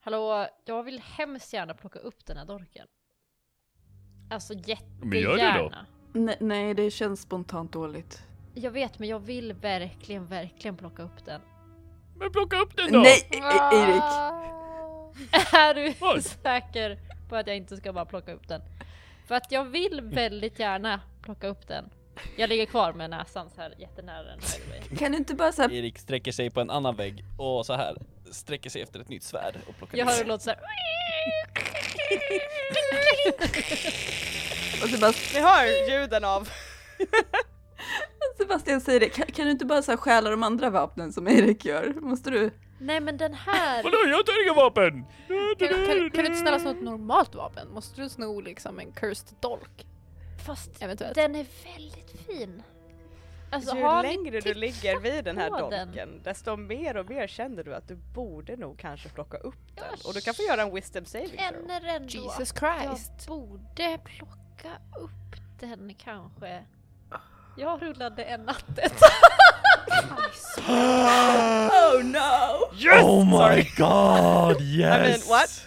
Hallå, jag vill hemskt gärna plocka upp den här dorken. Alltså jättegärna. gör det då. Nej, nej, det känns spontant dåligt. Jag vet, men jag vill verkligen, verkligen plocka upp den. Men plocka upp den då! Nej, E- E- Erik! [LAUGHS] Är du Oj. säker på att jag inte ska bara plocka upp den? För att jag vill väldigt gärna plocka upp den. Jag ligger kvar med näsan så här jättenära den. by the way. Kan du inte bara så här, Erik sträcker sig på en annan vägg och så här sträcker sig efter ett nytt svärd och plockar Jag upp hör hur det. det låter så här. och Sebastian, Ni hör ljuden av... Sebastian säger det, kan, kan du inte bara så här stjäla de andra vapnen som Erik gör? Måste du? Nej men den här. Vadå, jag tar inga vapen! Kan, kan, kan du inte [GASPS] snälla sno [LAUGHS] ett normalt vapen? Måste du sno liksom en cursed dolk? Fast Eventuellt. den är väldigt fin. Alltså ju har ni längre du tittat ligger vid den här på den? dolken desto mer och mer känner du att du borde nog kanske plocka upp den. Jag Och du kan få göra en wisdom saving throw. känner ändå Jesus att Christ. jag borde plocka upp den kanske. Jag rullade en nattet. Oh no! Yes! Oh my god, mean, yes! what?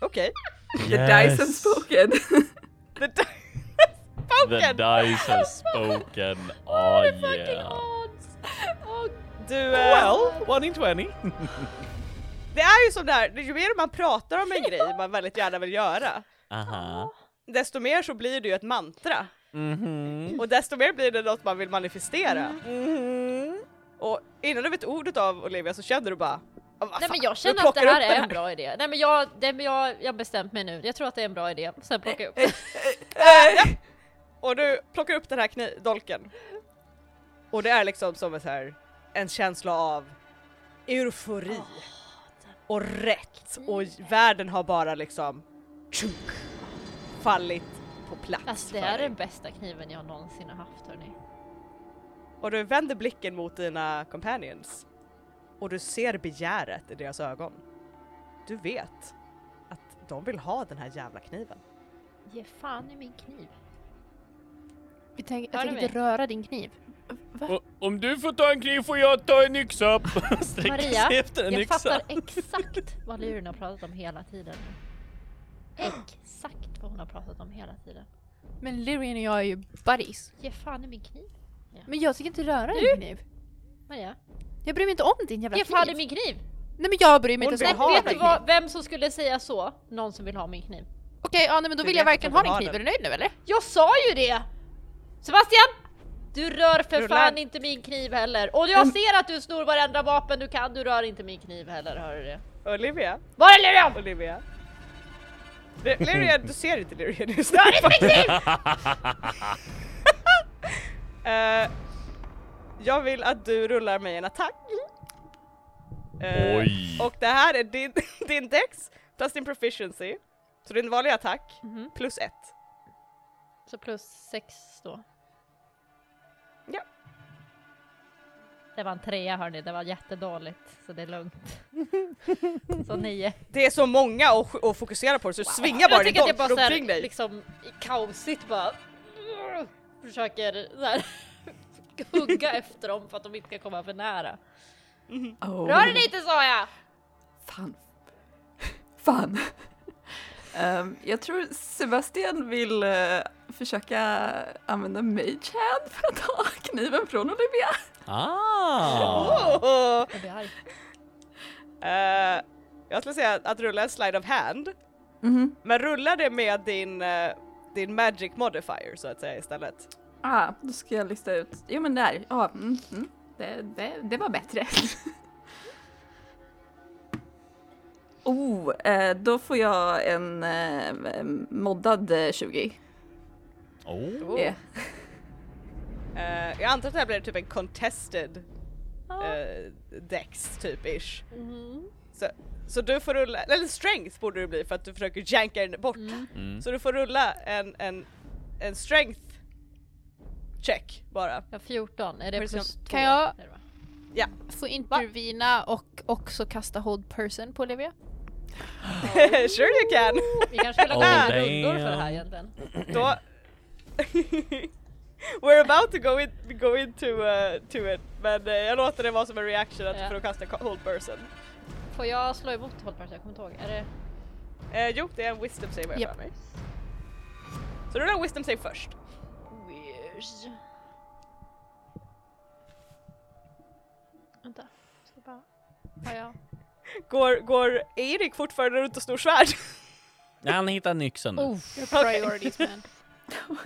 Okej. The dice has spoken! The di- The Spoken. dice has spoken. Ah, Oh Fucking yeah. odds! Och [LAUGHS] Du, eh, Well, one in twenty. [LAUGHS] det är ju sådär, ju mer man pratar om en grej man väldigt gärna vill göra Aha. desto mer så blir det ju ett mantra Mhm. och desto mer blir det något man vill manifestera. Mm. Mm-hmm. Och innan du vet ordet av Olivia så känner du bara "Ah, vad Nej fan, men jag du känner att det plockar upp här den är en bra idé. Nej men jag, det, men jag, jag har bestämt mig nu. Jag tror att det är en bra idé. Sen plockar jag upp [LAUGHS] den. Och du plockar upp den här kni- dolken. Och det är liksom som en, så här, en känsla av eufori. och rätt. Mm. Och världen har bara liksom tjunk, fallit på plats. Alltså det för är dig. den bästa kniven jag någonsin har haft hörni. Och du vänder blicken mot dina companions. Och du ser begäret i deras ögon. Du vet att de vill ha den här jävla kniven. Ge fan i min kniv. Vi tänk, jag Hör tänker ni inte röra din kniv. O- Om du får ta en kniv får jag ta en yxa. Sträcker [LAUGHS] Maria, sig [LAUGHS] efter en Jag yxa. fattar exakt vad Lyren har pratat om hela tiden. Exakt vad hon har pratat om hela tiden. Men Lirian och jag är ju buddies. Ge fan i min kniv. Men jag tänker inte röra din kniv. Maria, Jag bryr mig inte om din jävla ge kniv. fan i min kniv! Nej men jag bryr mig Hon inte vill ens om ha din Vet den. du kniv. vad, vem som skulle säga så? Någon som vill ha min kniv. Okej, ja nej, men då Du vill jag vet att verkligen hon ha vill din kniv. ha Är den. du nöjd nu eller? Jag sa ju det! Sebastian! Du rör för Rullar. fan inte min kniv heller. Och jag ser att du snor varenda vapen du kan, du rör inte min kniv heller, hör du det? Olivia, Var är Lirian? Olivia. Li- Lyrian, du ser inte Lyrian just nu. [LAUGHS] Eh, jag vill att du rullar mig en attack. Eh, Oj. Och det här är din, [LAUGHS] din dex plus din proficiency. Så din vanliga attack Mhm. plus ett. Så plus sex då. Ja. Det var en trea hörni, det var jättedåligt. Så det är lugnt. så nio. Det är så många att, sk- att fokusera på så du svingar bara jag din tycker att det dolk är bara runt såhär omkring dig. liksom kaosigt bara. mm, Försöker [LAUGHS] såhär hugga efter dem för att de inte ska komma för nära. [LAUGHS] Oh, Rör dig inte sa jag! fan. Fan. Ehm, jag tror Sebastian vill eh, försöka använda mage hand för att ta kniven från Olivia. Oh. Ah! Åh! Jag blir arg. [LAUGHS] Eh, jag skulle säga att rulla en slide of hand. Mhm. Men rulla det med din, eh, din magic modifier så att säga istället. Ah, då ska jag lista ut. Jo men där. Ah, mm, mm. Det, det, det var bättre. [LAUGHS] Oh, eh, då får jag en eh, moddad eh, 20. Oh. Yeah. Eh, jag antar att det här blir typ en contested Ja. eh, dex typ ish. Mm. Så, så du får rulla, eller strength borde det bli för att du försöker janka den bort. Så du får rulla en, en, en strength check bara. Ja, 14. Är det Får se om- plus 2? kan jag- Ja. Får intervina och också kasta hold person på Olivia? [LAUGHS] sure you can! Vi kanske skulle ha Oh, oh, rundor för det damn. här egentligen. Då... [LAUGHS] We're about to go, in, go into uh, to it men eh, jag låter det vara som en reaction att Ja. för att kasta ka- hold person. Får jag slå emot hållplatsen? Jag kommer inte ihåg. Är det... Eh, jo det är en wisdom save har jag Japp. för mig. Så rulla en wisdom save först. Weird. Vänta. Ska bara... Har jag... Går, går Erik fortfarande runt och snor svärd? Nej, han hittar nyxeln nu. Oh, Priorities man.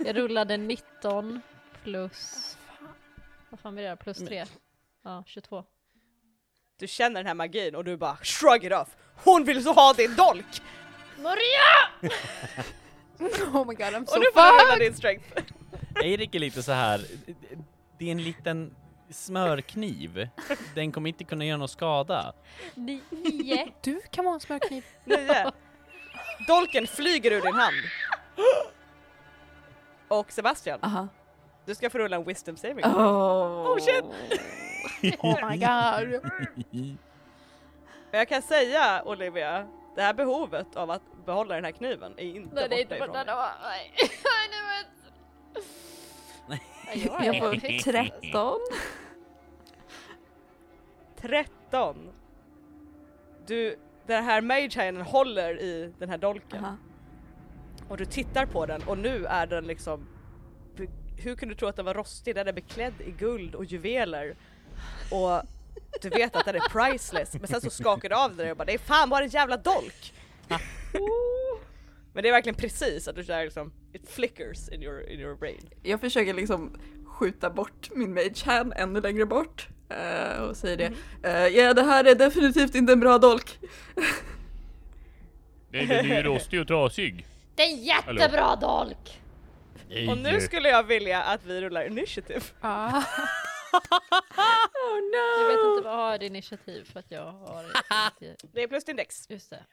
jag rullade 19 plus... Vad fan blir det? här? Plus 3? Ja, 22. [LAUGHS] Du känner den här magin och du bara shrug it off. Hon vill så ha din dolk! Maria! Oh my god I'm och so nu får du fucked! rulla din strength. Erik är lite så här. det är en liten smörkniv. Den kommer inte kunna göra någon skada. Ni- [LAUGHS] Nio. Typ Du kan vara en smörkniv. Nio. Dolken flyger ur din hand. Och Sebastian, Aha. du ska få rulla en wisdom saving. Oh. Oh, [LAUGHS] shit. Oh my god. Men jag kan säga Olivia, det här behovet av att behålla den här kniven är inte Nej, det är inte borta borta ifrån dig. då. Nej, [LAUGHS] Nej, nu vet Nej, jag. Jag är [LAUGHS] får 13. 13. Du, den här magehanden håller i den här dolken Aha. och du tittar på den och nu är den liksom be- hur kunde du tro att den var rostig? Den är beklädd i guld och juveler och du vet att den är priceless men sen så skakar du av dig och bara det är fan bara en jävla [LAUGHS] dolk! men det är verkligen precis att du känner liksom it flickers in your, in your brain. Jag försöker liksom skjuta bort min mage hand ännu längre bort eh, och säger det. Eh, Ja, det här är definitivt inte en bra dolk. Nej, den är ju rostig och trasig. Det är en jättebra dolk! Och eh, nu skulle jag vilja att vi rullar initiative. Ah. Jag vet inte vad jag har i initiativ för att jag har... [LAUGHS] Det är plus din dex. Just det.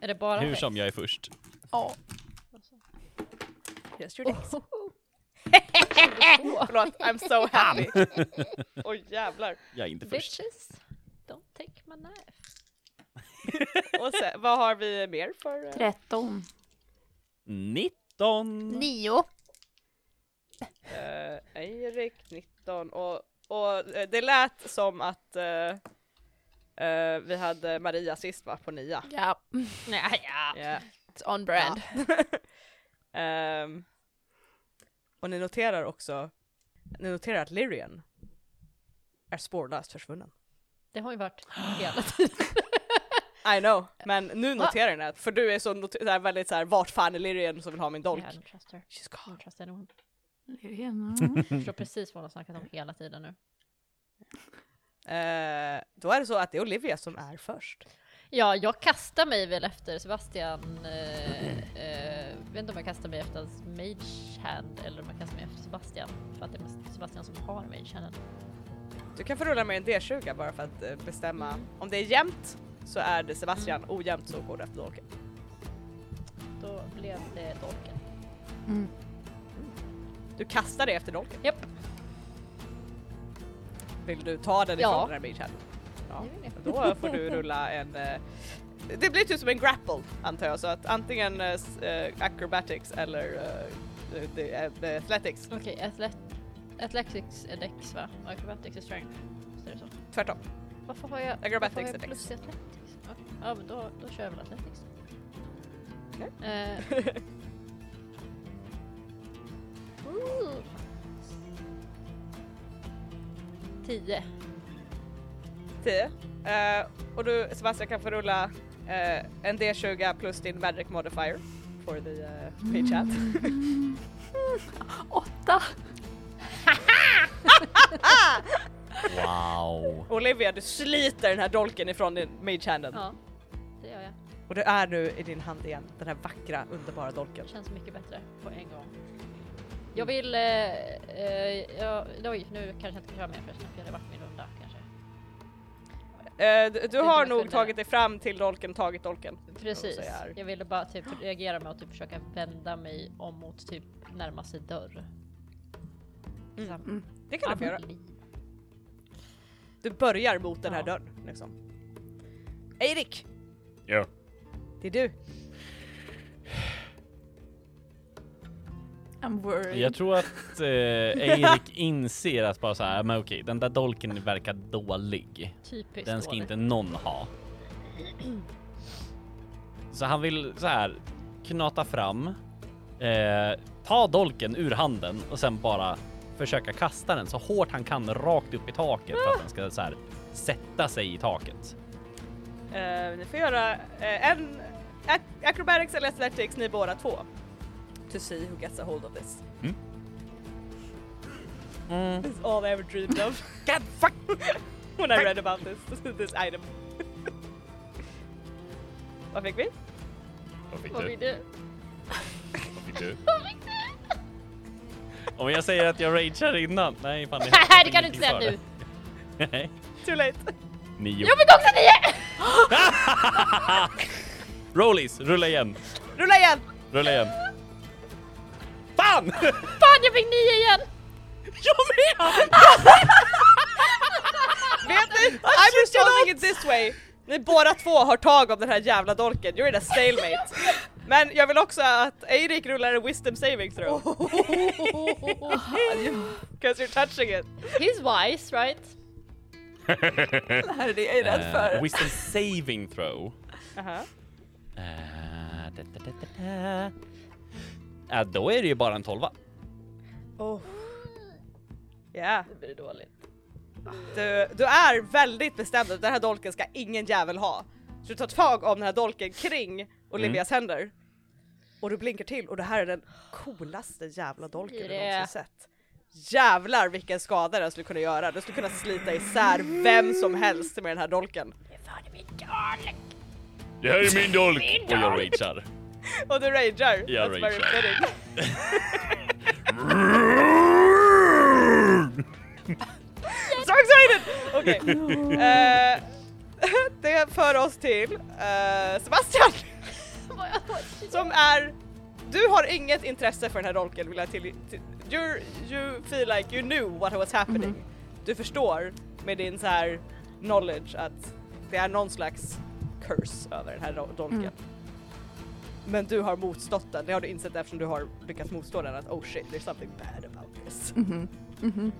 Är det bara Hur sex? som jag är först. Ja. Just your dex. [LAUGHS] Förlåt, I'm so [LAUGHS] happy. Oj jävlar. Jag är inte först. Bitches, don't take my knife. Och sen, vad har vi mer för? eh, 13. 19! Nio. Eh, Eirik 19 och, och eh, det lät som att eh, eh, vi hade Maria sist va, på nia. Ja. Nej, ja. Yeah. It's on brand. Ehm, och ni noterar också, ni noterar att Lyrian är spårlöst försvunnen. Det har ju varit [GASPS] hela tiden. I know, men nu noterar ni det, för du är så, noter- så här, väldigt så här, vart fan är Lyrian som vill ha min dolk? I don't trust her. She's I don't trust anyone. Mm. Jag förstår precis vad hon har snackat om hela tiden nu. Eh, då är det så att det är Olivia som är först. Ja, jag kastar mig väl efter Sebastian. Eh, eh, vet inte om jag kastar mig efter hans mage hand eller om jag kastar mig efter Sebastian. För att det är mest Sebastian som har mage handen. Du kan få rulla med en D20 bara för att eh, bestämma. Om det är jämnt så är det Sebastian, Mm. ojämnt så går det efter dolken. Då blev det dolken. Du kastar det efter dolken. Japp. Vill du ta den Ja. ifrån den här beachen? Ja. Det vill jag. Då får du rulla en... eh, Det blir typ som en grapple antar jag, så att antingen eh, s- eh, acrobatics eller eh, eh, det är- det är athletics. Okej, okay, Athletics är dex va? Och Acrobatics är strength. Så är det så. Tvärtom. Varför har jag, Acrobatics varför har är jag plus i Athletics? Okej, Ja men då, då kör jag väl Athletics. Eh. Ooh. Tio. 10. Eh, och du Sebastian kan få rulla eh, en D20 plus din magic modifier. For the uh, page hand. Mm. Åtta. Wow! Olivia, du sliter den här dolken ifrån din mage-handen. Ja, det gör jag. Och det är nu i din hand igen, den här vackra, underbara dolken. Känns mycket bättre på en gång. Jag vill... Eh, eh, jag, oj, nu kanske jag inte kan köra mer förresten, för det har varit min runda kanske. Eh, du, du är har inte nog verkligen tagit dig fram till dolken, tagit dolken. Precis, Och så är- jag ville bara typ reagera med att typ försöka vända mig om mot typ närmaste dörr. Mm. Sam- Det kan du få göra. Amelie. Du börjar mot den här Ja. dörren liksom. Erik! Ja. Det är du. I'm worried. Jag tror att eh, Erik inser att bara så här, men okej, den där dolken verkar dålig. Typiskt Den ska dåligt. inte någon ha. [CLEARS THROAT] Så han vill så här knata fram, eh, ta dolken ur handen och sen bara försöka kasta den så hårt han kan rakt upp i taket för att den ska så här sätta sig i taket. Eh, ni får göra eh, en ac acrobatics eller athletics ni båda två. To see who gets a hold of this. It's all I ever dreamed of. [LAUGHS] God fuck! When I read about this, [LAUGHS] this item. Vad fick vi? Vad fick Vad du? vill du? Vad fick du? Om jag säger att jag ragear innan? Nej, fan. [LAUGHS] det- [LAUGHS] Nej, det kan du inte säga jag nu! sa det. [LAUGHS] Nej. Too late. Nio. Jag fick också nio! Rollies, rulla igen. Rulla igen! Rulla [LAUGHS] igen. Fan! Fan, jag fick nio igen! [LAUGHS] Vet ni? I'm resolving it this way! Ni båda två har tag om den här jävla dolken, you're in a stalemate. Men jag vill också att Eirik rullar en wisdom saving throw. [LAUGHS] Cause you're touching it. He's wise, right? Det här är det jag är rädd Eh, för. wisdom saving throw. Aha. Eh, da, da, da, da, da. Ja, då är det ju bara en tolva. Oh. Yeah. Det blir dåligt. Du, du är väldigt bestämd att den här dolken ska ingen jävel ha. Så du tar tag om den här dolken kring Olivias händer. Och du blinkar till och det här är den coolaste jävla dolken du Det är det. någonsin sett. Jävlar vilken skada den skulle kunna göra. Du skulle kunna slita isär vem som helst med den här dolken. Det här är min dolk! Och jag ragear. [LAUGHS] Och du ragear. Jag That's very ragear. fitting. So excited! Okej. Eh, [LAUGHS] det för oss till eh, Sebastian som är... Du har inget intresse för den här dolken vill jag till... till you're, you feel like you knew what was happening. Du förstår med din så här knowledge att det är någon slags curse över den här do- dolken. Men du har motstått den, det har du insett eftersom du har lyckats motstå den att oh shit there's something bad about this. Mm-hmm.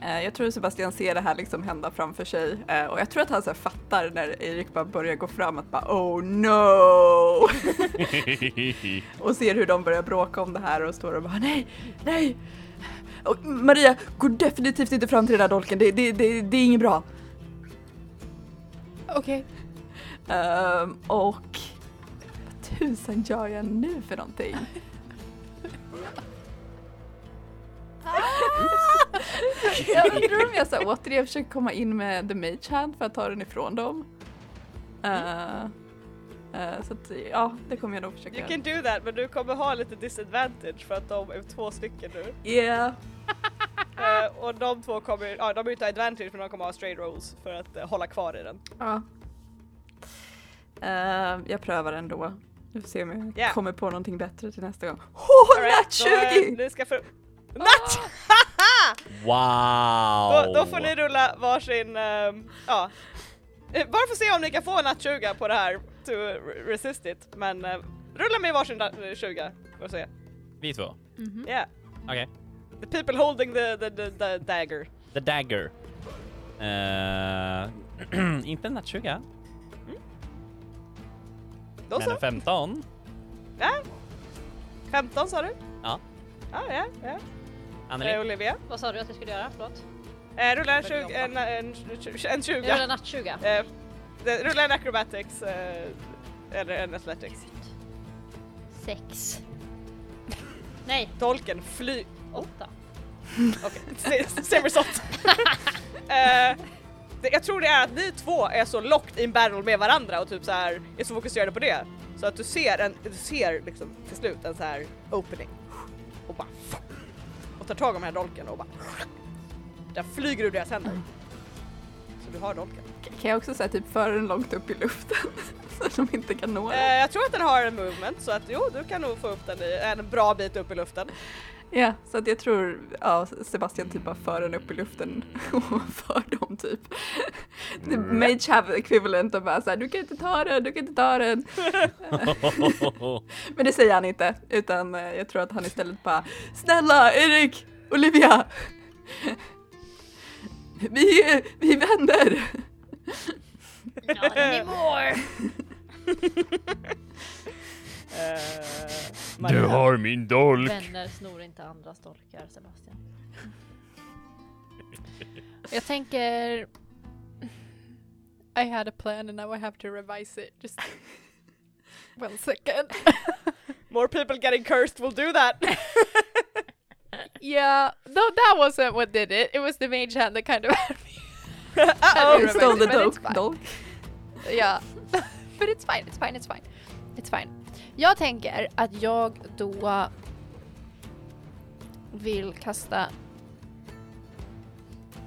Eh, Jag tror Sebastian ser det här liksom hända framför sig eh, och jag tror att han så här fattar när Erik bara börjar gå fram att bara oh no! [LAUGHS] och ser hur de börjar bråka om det här och står och bara nej, nej! Och Maria, gå definitivt inte fram till den där dolken, det, det, det, det är inget bra. Okej. Ehm, och vad tusan gör jag nu [LAUGHS] för någonting? jag undrar om jag så här, återigen försöker komma in med the mage hand för att ta den ifrån dem. Eh, eh, så att, ja, det kommer jag nog försöka You göra. can do that men du kommer ha lite disadvantage för att de är två stycken nu. Yeah. Eh, och de två kommer, ja de har ju inte advantage men de kommer ha straight rolls för att eh, hålla kvar i den. Ja. Eh, jag prövar ändå. Vi får se om jag Yeah. kommer på någonting bättre till nästa gång. Åh, nat 20! Då, eh, ni ska för... Natt! Då, Wow! då får ni rulla varsin, ehm, ja. Eh, Bara för att se om ni kan få en natt 20 på det här to re- resist it. Men eh, rulla med varsin eh, natt 20 och se. Vi två. Mhm. Yeah. Okej. The people holding the, the, the, the dagger. The dagger. Eh, [CLEARS THROAT] inte en nattsuga, Då men så. en 15. Ja. 15 sa du? Ja. Ja, ja, ja. Eh, Anneli? Olivia. Vad sa du att jag skulle göra? Förlåt? Eh, rulla en 20, en, en, en 20. Jag rullar natt 20. Eh, det- rulla en acrobatics eh, eller en athletics. Sex. Nej, Dolken fly... [LAUGHS] åtta. Okej, okay. same result. Eh, det, jag tror det är att ni två är så locked in battle med varandra och typ så här är så fokuserade på det. Så att du ser, en, du ser liksom till slut en så här opening och bara och tar tag om den här dolken och bara där flyger du deras händer. Så du har dolken. Kan jag också säga typ föra den långt upp i luften [LAUGHS] så att de inte kan nå den? Eh, jag tror att den har en movement så att jo, du kan nog få upp den i, en bra bit upp i luften. Ja, så att jag tror ja, Sebastian typ bara för den upp i luften [LAUGHS] ovanför dem typ. The mage have equivalent och bara såhär du kan inte ta den, du kan inte ta den. Men det säger han inte utan eh, jag tror att han istället bara snälla Erik, Olivia. [LAUGHS] Vi, är- vi är vänner. Not anymore! Eh, Du Maria. har min dolk. Vänner snor inte andras dolkar, Sebastian. Jag tänker... I had a plan and now I have to revise it. [LAUGHS] Just one second. More people getting cursed will do that. yeah, no, that wasn't what did it. It was the mage hand that kind of [LAUGHS] had me. Uh-oh. I You stole the remember, but it's dolk. fine. dolk. Yeah, [LAUGHS] but it's fine. It's fine. It's fine. It's fine. Jag tänker att jag då vill kasta...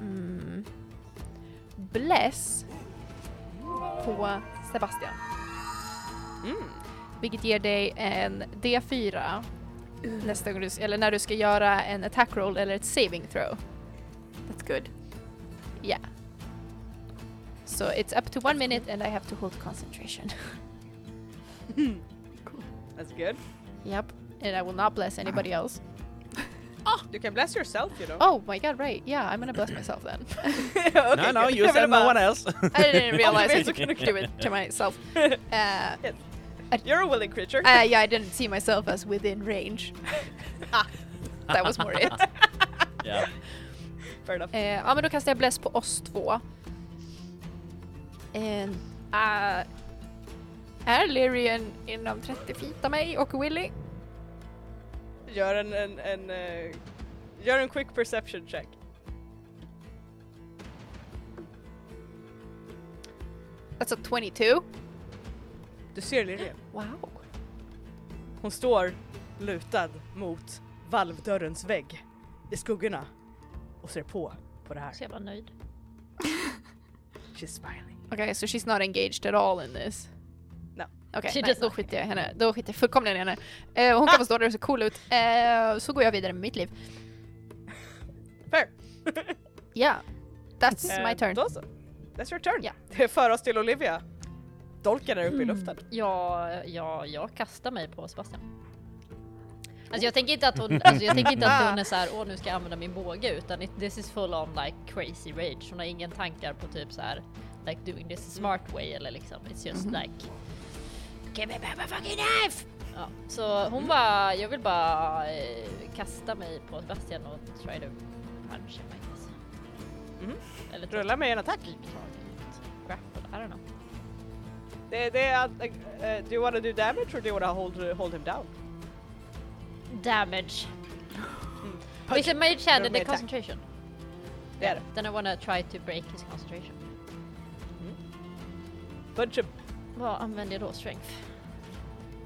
Mm. Bless på Sebastian. Mm. Vilket ger dig en D4 nästa gång du, eller när du ska göra en attack roll eller ett saving throw. That's good. So it's up to one minute and I have to hold concentration. That's good. Yep. And I will not bless anybody else. You can bless yourself you know. Oh my god, right. Yeah, I'm gonna bless myself [LAUGHS] then. okay, no, no, good. you Jag ville said no bara- [LAUGHS] one else. [LAUGHS] I didn't realize I [LAUGHS] it's was gonna do it to myself. Uh, You're a willing creature. uh, yeah, I didn't see myself as within [LAUGHS] range. Ah, that was more it. yeah. Fair enough. Eh, ja men då kastar jag bless på oss två. And, uh, är Lyrian inom 30 feet av mig och Willy? Gör en, en, en eh, gör en quick perception check. Alltså 22. Du ser Lirian. Wow. Hon står lutad mot valvdörrens vägg i skuggorna och ser på på det här. Så jag var nöjd. She's smiling. okay, so she's not engaged at all in this. No. Okej, She nej, does då not. skiter jag i henne. Då skiter jag fullkomligen i henne. Eh, Ah! hon kan få stå där och se cool ut. Eh, så går jag vidare med mitt liv. Fair. Yeah. That's Eh, my turn. Då så. That's your turn. Ja. Mm. Det för oss till Olivia. Dolken är uppe i luften. Ja, ja, jag kastar mig på Sebastian. Alltså jag tänker inte att hon, alltså jag tänker inte att hon är så här, åh nu ska jag använda min båge utan it, this is full on like crazy rage. Hon har ingen tankar på typ så här, like doing this a smart way eller liksom it's just Mm-hmm. like Give me back my fucking knife! Ja, så hon bara, jag vill bara eh, kasta mig på Sebastian och try to punch him I guess. Mhm. Eller Rulla med en attack. typ tag i- Grapple, I don't know. Det, det är, att, like, eh, do you wanna do damage or do you wanna hold, hold him down? Damage. Punch. Is it mage hand and Rulla med the attack. concentration? Det är det. Then I wanna try to break his concentration. Punch him. Vad använder jag då? Strength?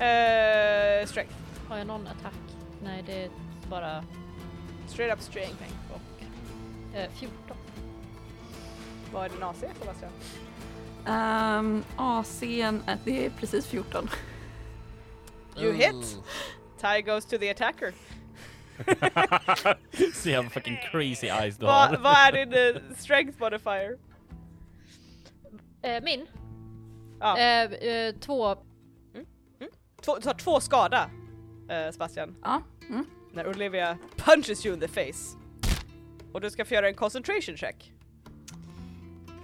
Eh, strength. Har jag någon attack? Nej, det är bara Straight up strength. och eh, 14. Vad är din AC Sebastian? Um, Ehm, AC'n, eh, det är precis 14. You Mm. hit! Ty goes to the attacker. See how fucking crazy eyes du Vad vad har. är din eh, strength modifier? Eh, min? Ja. Eh, eh, två. Två, du tar två skada eh, Sebastian Ja. Mm. när Olivia punches you in the face. Och du ska få göra en concentration check.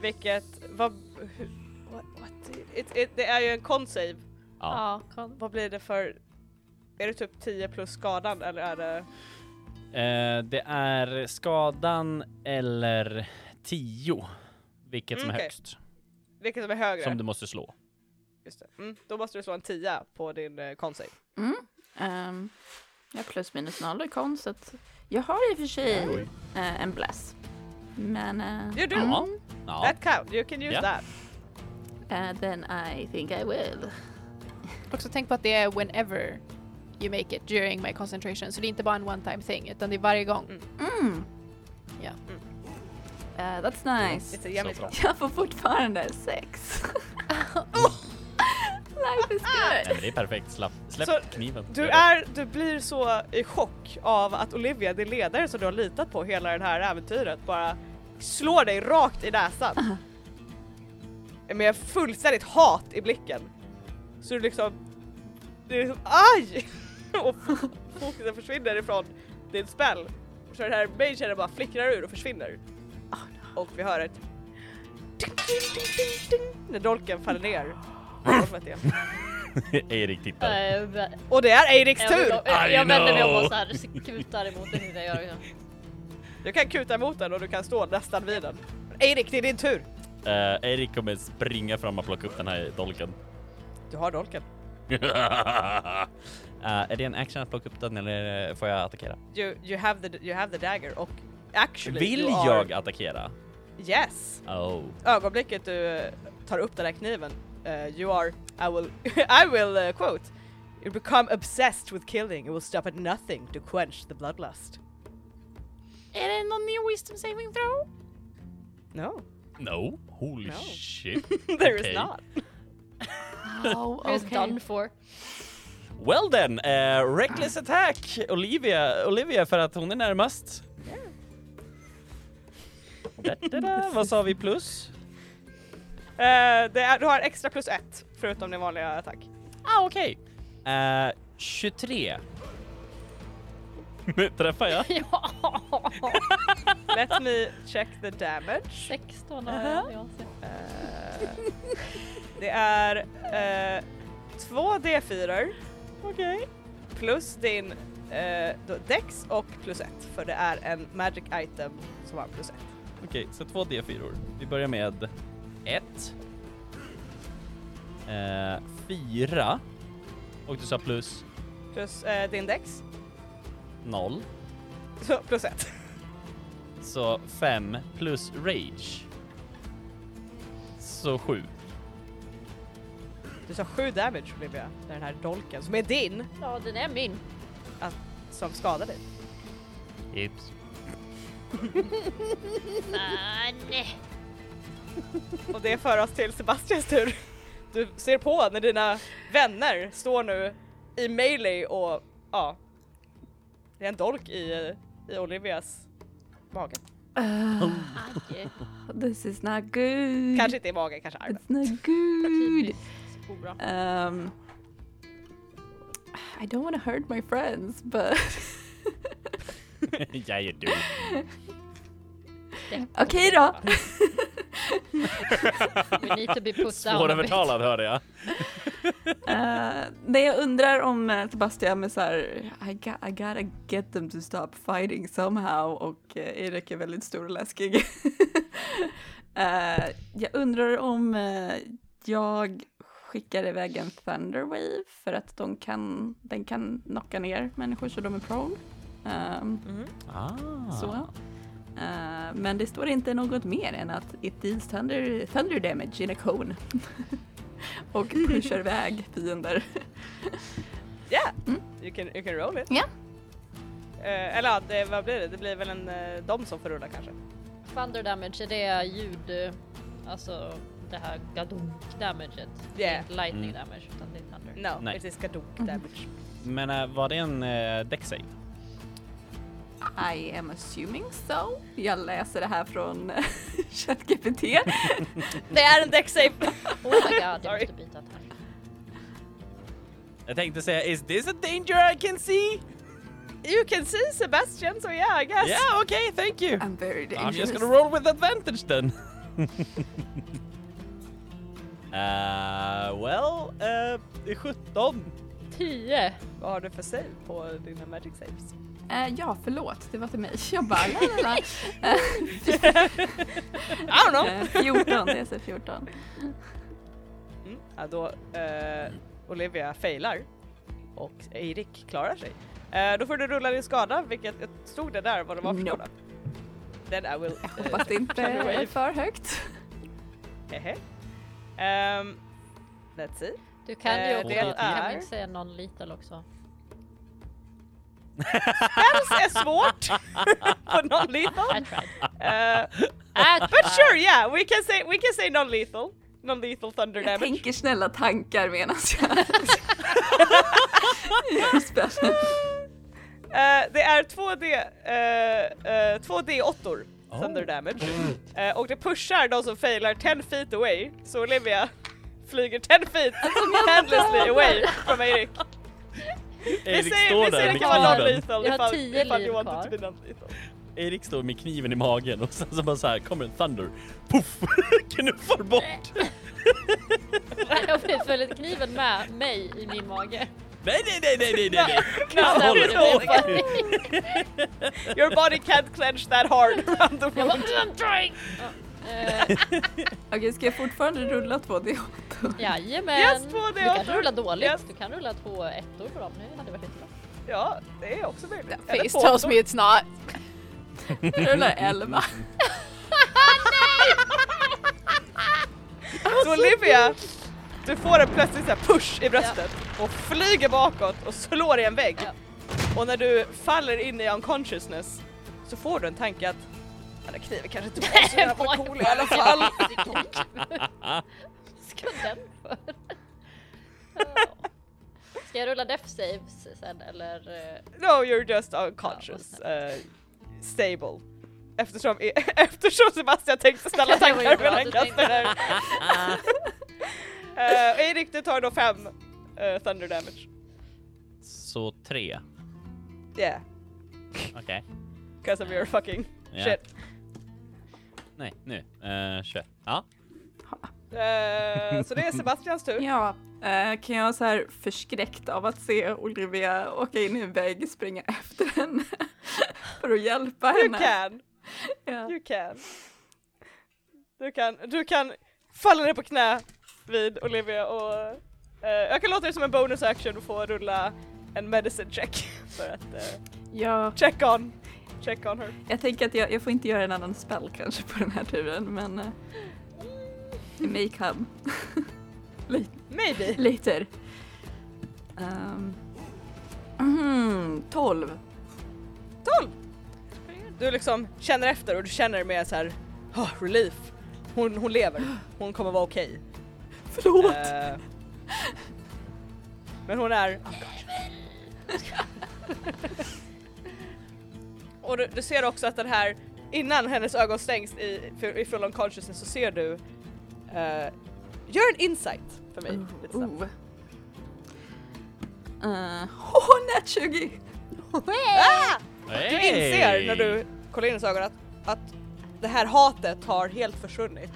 Vilket, vad, hur, what, what, it, it, det är ju en con save. Ja. Ja, kon. Vad blir det för, är det typ 10 plus skadan eller är det? Eh, det är skadan eller 10. Vilket som är Mm, okej. högst. Vilket som är högre? Som du måste slå. Just det. Mm, då måste du slå en 10 på din uh, con save. Mm. Ehm, jag har plus minus noll i kon, så att jag har i och för sig eh, en bless. Men... eh, Gör du? mm, Ja. Ja. That count, you can use Ja. that. And eh, then I think I will. Också tänk på att det är whenever you make it during my concentration. Så det är inte bara en one time thing utan det är varje gång. Mm. Ja. Eh, that's nice. Mm. It's a yummy Så bra. [LAUGHS] Jag får [LAUGHS] fortfarande sex. Life is good. Nej, men det är perfekt. Slapp, släpp Så kniven. Du, [LAUGHS] är, du blir så i chock av att Olivia, din ledare som du har litat på hela det här äventyret, bara slår dig rakt i näsan. Med fullständigt hat i blicken. Så du liksom... Det är liksom aj! [LAUGHS] Och fokusen försvinner ifrån din spell. Och så den här magen bara flickrar ur och försvinner. Och vi hör ett... ting, ting, ting, ting, ting, När dolken faller [LAUGHS] ner. Erik tittar. Jag, jag, Och det är Eiriks tur! Eh, jag, I jag vänder mig om know. och så här skutar emot den. Jag gör liksom. Du kan kuta emot den och du kan stå nästan vid den. Erik, det är din tur! Eh, Erik kommer springa fram och plocka upp den här [LAUGHS] dolken. Du har dolken. Eh, är det en action att plocka upp den eller eh, får jag attackera? You, you, have the, you have the dagger och actually Vill you jag Are, attackera? yes! Oh. Ögonblicket du eh, tar upp den här kniven, eh, you are, I will, [LAUGHS] I will eh, quote, you become obsessed with killing and will stop at nothing to quench the bloodlust. Är det någon new wisdom saving throw? No, [LAUGHS] No. Holy No. shit. [LAUGHS] there is Okay. not. [LAUGHS] Oh, Who's okay. done for? Well then, eh, reckless attack! Olivia, Olivia för att hon är närmast. Da, da, da. Vad sa vi plus? Eh, det är, du har extra plus ett, förutom din vanliga attack. Ah okej. Eh, 23. [LAUGHS] Träffar [LAUGHS] jag? ja, Let me check the damage. 16 har jag. jag ser. Eh, det är eh, två D4 okay. plus din eh, då Dex och plus ett för det är en magic item som har plus ett. Okej, så två D4. Vi börjar med ett. Eh, fyra. Och du sa plus Plus eh, din Dex, noll. så plus ett. Så fem plus rage. Så sju. Du sa sju damage Olivia, när den här dolken som är din Ja, den är min. som skadar dig. Ips. Ah, nej. Och det för oss till Sebastians tur. Du ser på när dina vänner står nu i melee och ja, det är en dolk i, i Olivias mage. Eh, Aj. this is not good. Ah. Kanske inte i magen, kanske armen. It's not good. Typiskt Spora. Um, I don't want to hurt my friends, but [LAUGHS] [LAUGHS] Jag är dum. okej då. We need to be put down. a bit. [LAUGHS] Svårövertalad hörde jag. Eh, nej, jag undrar om eh, Sebastian med så här, I, got, I gotta get them to stop fighting somehow och eh, Erik är väldigt stor och läskig. [LAUGHS] Eh, jag undrar om eh, jag skickar iväg en Thunderwave för att de kan, den kan knocka ner människor så de är prone. Ehm, Ah. så. Ah. Eh, men det står inte något mer än att it deals thunder, thunder damage in a cone. [LAUGHS] [LAUGHS] och pushar iväg fiender. Yeah! You, can, you can roll it. Ja. Eh, eller ja, det, vad blir det? Det blir väl en uh, dom som får rulla kanske. Thunder damage, är det ljud... eh, Alltså det här gadunk-damaget. Det är Yeah. inte lightning Mm. damage utan det är thunder. No, Nej. it is kadok damage. Men eh, var det en uh, däcksave? I am assuming so. Jag läser det här från [LAUGHS] ChatGPT. Det är en deck save! Oh my god, jag [LAUGHS] Sorry. måste byta attack. Jag tänkte säga is this a danger I can see? You can see Sebastian, so yeah I guess. Yeah, okay, thank you. I'm very I'm dangerous. just gonna roll with advantage then. [LAUGHS] uh, well, eh, 17. 10! Vad har du för save på dina magic saves? Eh, ja, förlåt. Det var till mig. Jag bara la, la, [LAUGHS] la. I don't know! Eh, 14, det är så 14. Mm. Ja, då eh, Olivia failar och Erik klarar sig. Eh, då får du rulla din skada, vilket jag stod det där vad det var för Nope. skada. Then I will... [LAUGHS] Hoppas det inte Thunder wave. är för högt. Hehe. Ehm, let's see. Du kan ju Eh, också, det kan är- väl säga non lethal också? Spells är svårt [LAUGHS] för non-lethal. I tried. Eh, I but tried. sure, yeah, we can say we can say non-lethal, non-lethal thunder Jag damage. tänker snälla tankar medan [LAUGHS] jag... [LAUGHS] jag är spänd. Eh, det är 2D, eh, eh, 2D8 Oh. thunder damage. Eh, och det pushar de som failar 10 feet away, så Olivia flyger 10 feet Alltså, handlessly away from Erik. Vi Erik säger, står vi säger där det med kan vara kniven. non-lethal Jag har ifall, tio ifall you liv want it to kvar. be non-lethal. Erik står med kniven i magen och sen så bara så här kommer en thunder. Puff! [LAUGHS] Knuffar bort. Jag följde kniven med mig i min mage. Nej, nej, nej, nej, nej, nej. [LAUGHS] Knallar håller på på. mig på mig. Your body can't clench that [LAUGHS] hard [LAUGHS] around the Jag bara, room. I'm trying! [LAUGHS] Eh, Okej, ska jag fortfarande rulla 2D8? Jajamän! Yes, två du kan D8. rulla dåligt, Yes. du kan rulla två ettor på dem. Det hade varit jättebra. Ja, det är också möjligt. That Eller face tells påstår- me oh. it's not. Jag rullar 11. Så Olivia, du får en plötslig så här push i bröstet och flyger bakåt och slår i en vägg. Ja. Och när du faller in i unconsciousness så får du en tanke att den där kniven kanske inte [LAUGHS] var så jävla cool i alla fall. Ska den för? Ja. Ska jag rulla death saves sen eller? eh, No, you're just unconscious. eh, stable. Eftersom, [LAUGHS] eftersom Sebastian tänkte ställa [LAUGHS] Det var ju tankar bra, mellan du tänkte. kasterna. [LAUGHS] Uh, Erik, du tar då fem eh, thunder damage. Så tre. Yeah, Okej. because of your fucking Ja. shit. Nej, nu. Uh, 21. Ja. Eh, så det är Sebastians [LAUGHS] tur. Ja, eh, kan jag så här förskräckt av att se Olivia åka in i en vägg, springa efter henne [LAUGHS] för att hjälpa You henne? can, Ja. you can. Du kan, du kan falla ner på knä vid Olivia och eh, jag kan låta det som en bonus action och få rulla en medicine check [LAUGHS] för att eh, Ja, check on, check on her. jag tänker att jag, jag får inte göra en annan spell kanske på den här turen, men eh, it may come Maybe. later. Um, mm, 12. 12! Du liksom känner efter och du känner med så här "Ah, relief. Hon, hon lever, hon kommer vara okej. Förlåt! Eh, men hon är... [LAUGHS] Och du, du ser också att den här, innan hennes ögon stängs i, för, ifrån unconsciousness så ser du... eh, gör en insight för mig. lite snabbt. Oh. Uh, oh, nat 20! Du inser när du kollar in hennes ögon att, att det här hatet har helt försvunnit.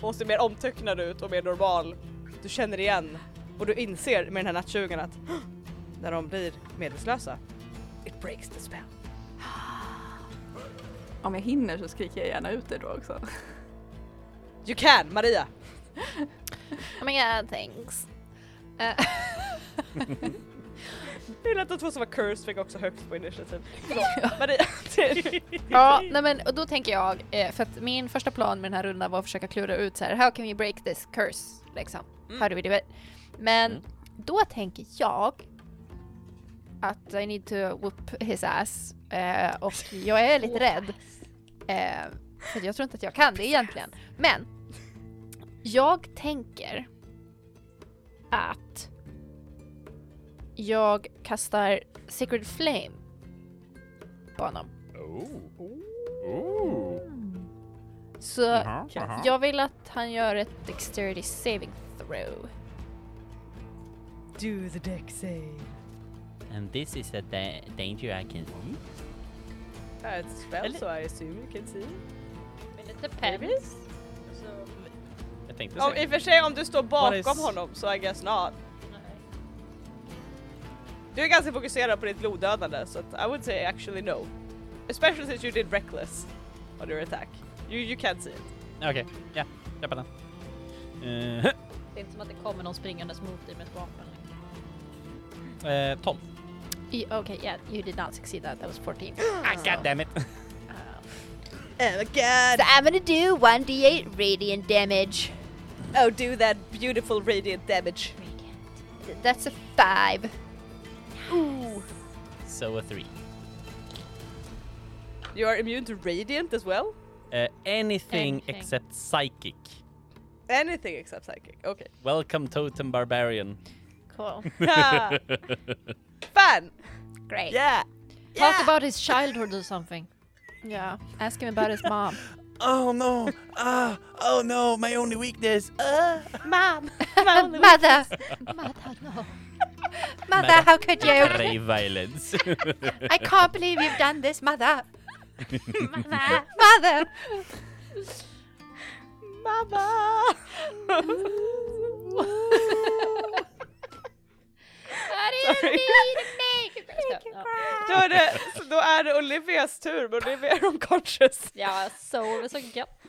Hon ser mer omtöcknad ut och mer normal. Du känner igen och du inser med den här nattsugan att "Hå! när de blir medvetslösa, it breaks the spell. Om jag hinner så skriker jag gärna ut det då också. You can Maria! Oh my god, thanks. Det är lätt att två som var cursed fick också högt på initiativ. [LAUGHS] Förlåt, Maria! Ja, nej men och då tänker jag, eh, för att min första plan med den här rundan var att försöka klura ut så här, how can we break this curse? Liksom, how do we do it? Men Mm. då tänker jag att I need to whoop his ass. Eh, och jag är lite rädd. Eh, för jag tror inte att jag kan det egentligen. Men jag tänker att jag kastar Sacred Flame på honom. Så Uh-huh, jag vill att han gör ett dexterity saving throw. Do the deck save. And this is a da- danger I can see. Uh, it's a spell so I assume you can see. Men det depends. Så, Jag tänkte Om, I och för sig om du står What bakom is- honom så I guess not. nej. Du är ganska fokuserad på ditt bloddödande så att I would say actually no. Especially since you did reckless on your attack. You, you can't see it. Okej, ja. Köpa den. Eh, [LAUGHS] Det är inte som att det kommer någon springandes mot dig med ett vapen. eh, 12. I- Okej, yeah, you did not succeed that, that was 14. Ah, God damn it. Ah. Oh my god! So I'm gonna do 1d8 radiant damage. Oh, do that beautiful radiant damage. That's a five. [LAUGHS] So a three. You are immune to radiant as well? Uh, anything, Anything. except psychic. Anything except psychic. Okay. Welcome, Totem Barbarian. Cool. Ha! Fan! Great. Yeah! Talk about his childhood or something. Yeah. Ask him about his [LAUGHS] mom. Oh no! Ah! oh no! My only weakness! Ah. Mom! Mother! Mother, no. Mother, [LAUGHS] how could you? Grave violence. [LAUGHS] I can't believe you've done this, mother. [LAUGHS] mother. Mother. Mama! [LAUGHS] [LAUGHS] Sorry. Då är, det, då är det Olivias tur, men Olivia är unconscious. Ja, soul är så gött.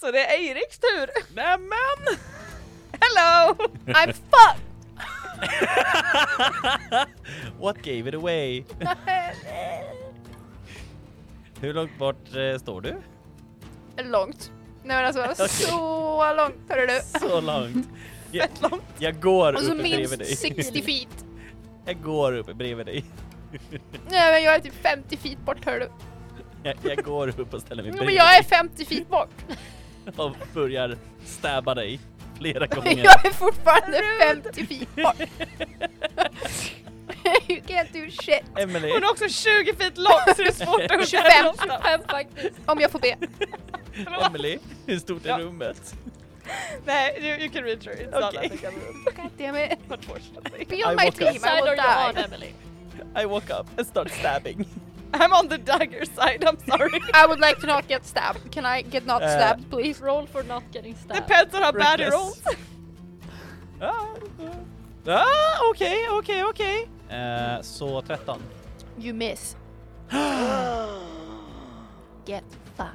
Så det är Eriks tur. Nämen! Hello! I'm fucked. What gave it away? Hur långt bort eh, står du? [LAUGHS] Långt. Nej men [LAUGHS] alltså så långt hörru du. Så långt. Jag, jag går Och så uppe bredvid dig. Alltså, minst [LAUGHS] 60 feet. Jag går uppe bredvid dig. Nej men jag är typ 50 feet bort hörru. Jag, jag går upp och ställer mig Jo men bredvid jag är dig 50 feet bort. och börjar stabba dig [LAUGHS] flera gånger. Jag är fortfarande 50 feet [LAUGHS] bort. you can't do shit. Emily, Hon är också 20 feet lång så det är svårt att hugga henne 25. någonstans. Om jag får be. Emily, hur stort är Ja. rummet? Nej, you, you can reach her. It's not Okej. nothing other God damn it. than unfortunately. Be on I my walk team, I Side will or die. on, Emily. I walk up and start stabbing. I'm on the dagger side, I'm sorry. I would like to not get stabbed. Can I get not Uh, stabbed, please? Roll for not getting stabbed. Depends on how bad it Reckless. rolls. Ah, ah. ah, okej, okej, okej. Eh, Så [GASPS] 13. You miss. get fucked.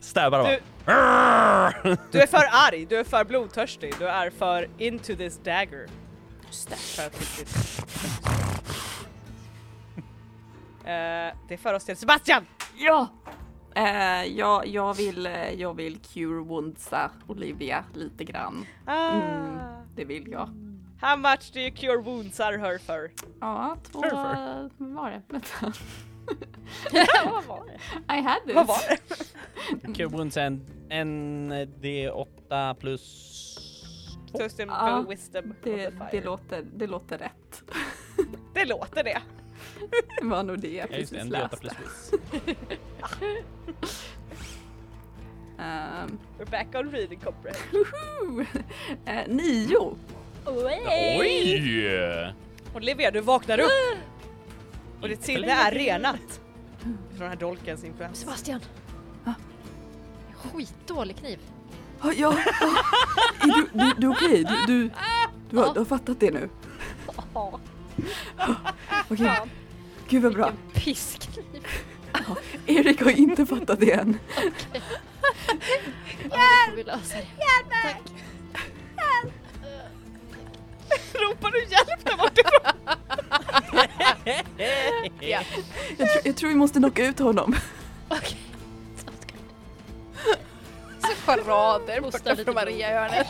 Stabbar Du- bara. Du är för arg, du är för blodtörstig, du är för into this dagger. För att riktigt- Eh, det för oss till Sebastian! Ja! Eh, jag, jag, vill, eh, jag vill cure woundsa Olivia lite grann. Ah. Mm. Det vill jag. How much do you cure wounds are her for? Ja, två Fur, fur. eh, var det. Vänta. Vad var det? I had this. Vad var det? Kubons en, en D8 plus... Just in Ja, wisdom of the Det, fire. det, låter, det låter rätt. det låter det. Det var nog det jag Ja just det, precis en D8 läste. plus plus. Ehm, We're back on reading comprehend. woho! Eh, nio! Oj! Yeah. Olivia, du vaknar upp och ditt sinne är renat. Från den här dolkens influens. Sebastian! Va? Skitdålig kniv. Ja, ja. Är du, du, du är okej? Du, du, du, har, du har fattat det nu? Ja. Okej. Gud vad bra. Vilken pisskniv. Erik har inte fattat det än. Ja, då får vi lösa det. Ropar du hjälp där bortifrån? Jag, tror- jag tror vi måste knocka ut honom. Okej. Så ska- Så alltså, charader Hostar borta lite från Maria [LAUGHS] hörnet.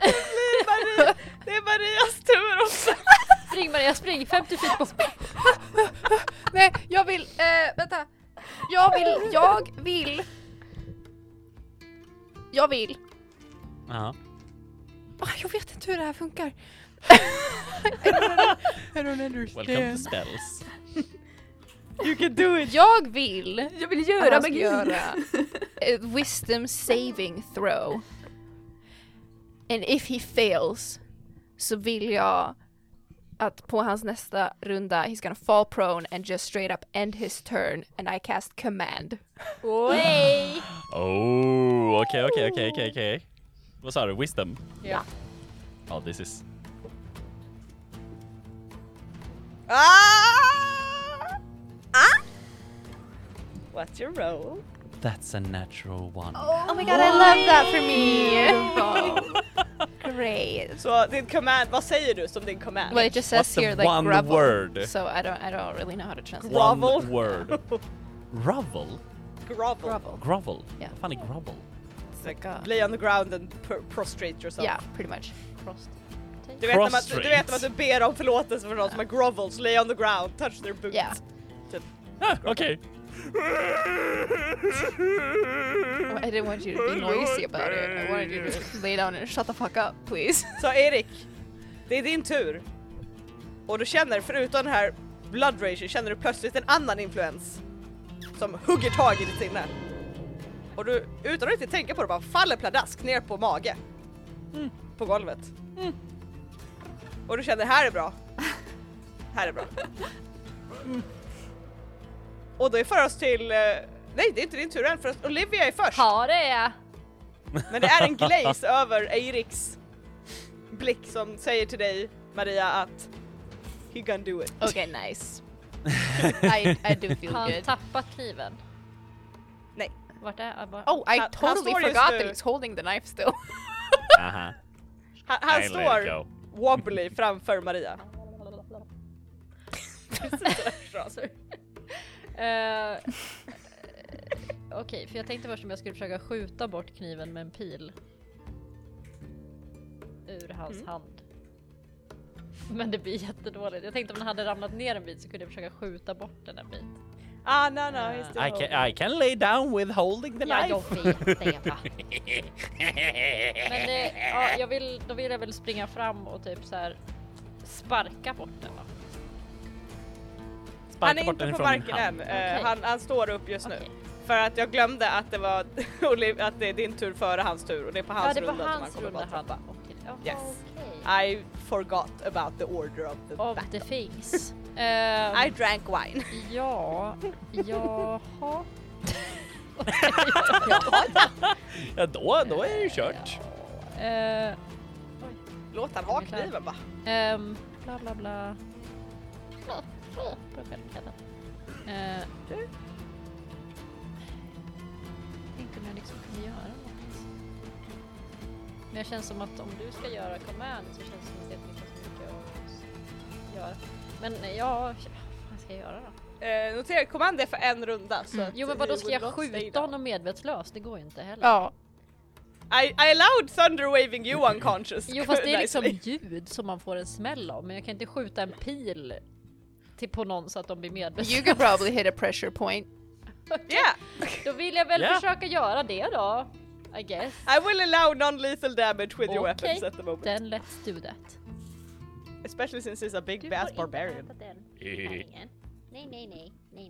Maria, det är Marias tur också. Spring Maria, spring! 50 feet bort. Nej, jag vill, eh, vänta. Jag vill, jag vill. Jag vill. Jaha. Ah, jag vet inte hur det här funkar. Welcome to spells. You can do it. Jag vill Jag vill göra magi. Göra a wisdom saving throw. And if he fails så vill jag att på hans nästa runda he's gonna fall prone and just straight up end his turn and I cast command. Oj! Oh, okej, okej, okej, okej, okej. Vad sa du? Wisdom? Ja. Yeah. Oh, this is... Ah! What's your roll? That's a natural [LAUGHS] one. Oh my god I love that for me! Great. Så din command, vad säger du som din command? Well, it just says What's here the like one grovel. word? So I don't, I don't really know how to translate. Gro- Grovel. One [LAUGHS] word. Grovel? grovel. uh, Grovel. Grovel? Ja. Vad fan är grovel? It's like a, Lay on the ground and pr- prostrate yourself. yeah, pretty much. Prost. Du vet, när man, du Prostrate. vet när man typ ber om förlåtelse för någon som har grovels, lay on the ground, touch their boots. Yeah. Ah, Okej. I didn't want you to be noisy about it. I wanted you to just lay down and shut the fuck up, [LAUGHS] please. Så Erik, det är din tur. Och du känner, förutom den här blood rage, känner du plötsligt en annan influens som hugger tag i ditt sinne. Och du, utan att riktigt tänka på det, bara faller pladask ner på mage. På golvet. Och du känner, här är bra. Här är bra. Och då är för oss till... eh, Nej, det är inte din tur än för att Olivia är först. Ha det ja! Men det är en glaze över Eiriks blick som säger till dig Maria att He can do it. Okay, nice. I, I do feel Har han good. tappat kniven? Nej. Vart är bara... Oh, I Han- han totally står just forgot nu- that he's holding the knife [LAUGHS] still. Aha. Han, han I Uh-huh. let it står go. wobbly framför Maria. Eh, Okej, för jag tänkte först om jag skulle försöka skjuta bort kniven med en pil. Ur hans hand. Men det blir jättedåligt. Jag tänkte om den hade ramlat ner en bit så kunde jag försöka skjuta bort den en bit. Ah, no, no, he's still I can, I can lay down with holding the Ja, [LAUGHS] jag knife. vet det va. Men eh, ja, jag vill, då vill jag väl springa fram och typ så här sparka bort den va. Han Sparka är bort den inte på ifrån min marken än, hand. eh, Okej. han, han står upp just nu. Okej. För att jag glömde att det var [LAUGHS] Oliv, att det är din tur före hans tur och det är på Ja hans det var runda som hans kommer runda bara han. trampa. Okej. Jaha, Yes. okej. I forgot about the order of the Of battle. the things. Ehm, I drank wine. [LAUGHS] Ja, jaha. Ja, då, då är det ju kört. Eh, Låt han ha kniven bara. ehm, bla bla bla. Eh, Tänk om jag liksom kunde göra något. Men jag känns som att om du ska göra command så känns det som att det inte finns så mycket att göra. Men eh, ja, vad ska jag göra då? Eh, notera, kommando är för en runda. Så att Mm. Jo men vadå he ska will jag not stay skjuta down. honom medvetslös? Det går ju inte heller. Oh. Ja, I, I allowed thunder waving [LAUGHS] you unconscious. Jo fast det är [LAUGHS] liksom Nicely. ljud som man får en smäll av men jag kan inte skjuta en pil till på någon så att de blir you medvetslösa. could probably hit a pressure point. Yeah, [LAUGHS] Då vill jag väl Ja. försöka göra det då. I guess. I will allow non-lethal damage with your Okej. weapons at the moment. Then let's do that. Especially since he's a big bass barbarian. Eh, Nej, nej, nej, nej,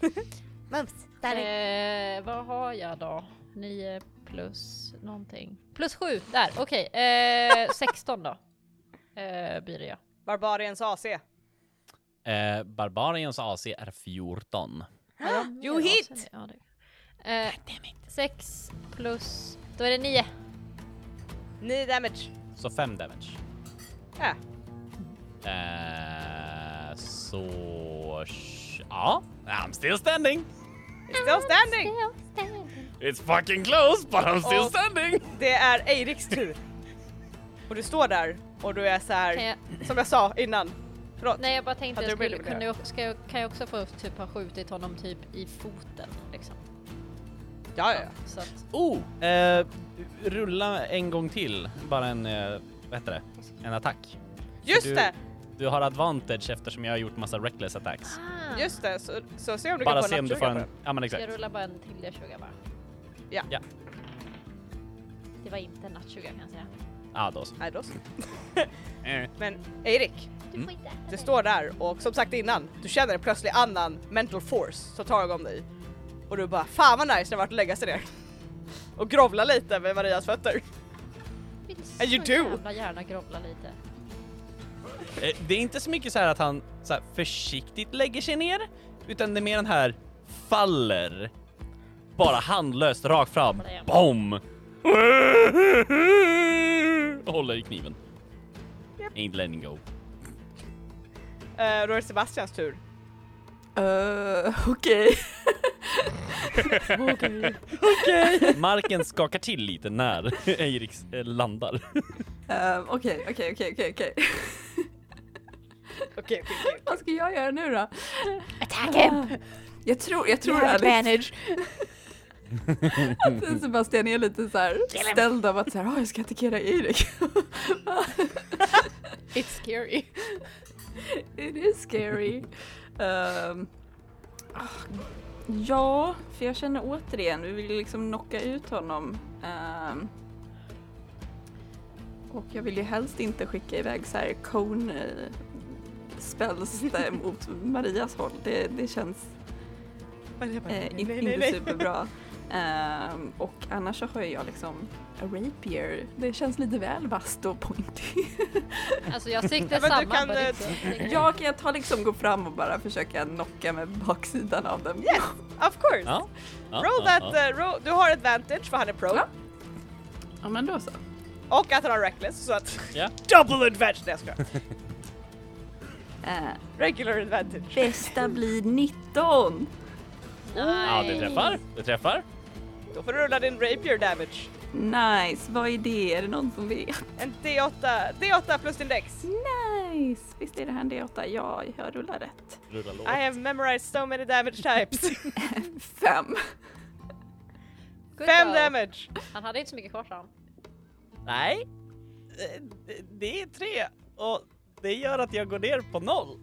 nej, nej. Eh, vad har jag då? 9 plus någonting. Plus 7, där okej. Eh, 16 då. Eh, blir det ja. Barbarians AC. Eh, Barbarians AC är 14. Ja, You ja, hit! sen det- Ja, det. Eh, 6 plus, då är det 9. 9 damage. Ah, Så 5 damage. Ja. Eh, så... sh- Ja, I'm still standing. Still standing! It's fucking close, but I'm still Oh. standing. Det är Eiriks tur. Och du står där och du är så Kan här, jag som jag sa innan. Förlåt. Nej jag bara tänkte Hade jag du skulle, möjlighet att kunde, jag- ska jag, kan jag också få upp typ ha skjutit honom typ i foten liksom. Ja, ja, ja. Så att, Oh! Eh, rulla en gång till. Bara en... Eh, vad heter det? En attack. Just du- det! Du har advantage eftersom jag har gjort massa reckless attacks. Just det, så, så se om du Bara kan få se en om du nattsjuka får Ah. på det. en... Ja men jag exakt. rullar bara en till jag 20 bara. Ja. Ja. Det var inte en natt 20 kan jag säga. Ja då så. Nej, då så. Eh. Men Erik, Du får inte äta Du den. står där och som sagt innan, du känner en plötslig annan mental force ta tag om dig. Och du bara fan vad nice det har varit att lägga sig ner. Och grovla lite vid Marias fötter. Vill så And you do. jävla gärna grovla lite. Eh, Det är inte så mycket så här att han så här försiktigt lägger sig ner, utan det är mer den här faller. Bara handlöst rakt fram. BOM! Och Håller i kniven. Ain't letting go. Uh, då är det Sebastians tur. [LAUGHS] Eh, Okej. [LAUGHS] Marken skakar till lite när Eiriks eh, landar. Ehm, Okej, okej, okej, okej, okej. [LAUGHS] Okej, okej, okej. Vad ska jag göra nu då? Attack him! Jag tror, You jag tror have ärligt advantage! [LAUGHS] att Sebastian är lite så här ställd av att så här, "Ah, jag ska [LAUGHS] attackera Erik. [LAUGHS] It's scary. It is [LAUGHS] scary. Ehm, ah, ja, för jag känner återigen, vi vill ju liksom knocka ut honom. Ehm, och jag vill ju helst inte skicka iväg så här cone eh, [LAUGHS] spells där mot Marias håll. Det, det känns eh, in, inte superbra. Ehm, och annars så har ju jag liksom a rapier. Det känns lite väl vasst och pointy. Alltså jag [LAUGHS] Men siktar du samma kan, men eh, inte. jag kan jag [LAUGHS] ta liksom gå fram och bara försöka knocka med baksidan av den. Of course! Ja. Ja, Roll ja, that, ja. eh, roll, du har advantage för han är pro. Ja. Ja men då så. Och att han har reckless så att... Ja. [LAUGHS] Double advantage! Nej jag [LAUGHS] skojar. Eh, Regular advantage. bästa blir 19! Ja, det träffar. Det träffar. Då får du rulla din rapier damage. Nice, vad är det? Är det någon som vet? En D8, D8 plus din dex. Nice! Visst är det här en D8? Ja, jag rullar rätt. Rulla lågt. I have memorized so many damage [LAUGHS] types. Fem. Good Fem though. damage. Han hade inte så mycket kvar sa han. Nej. Eh, det- Det är tre och det gör att jag går ner på noll.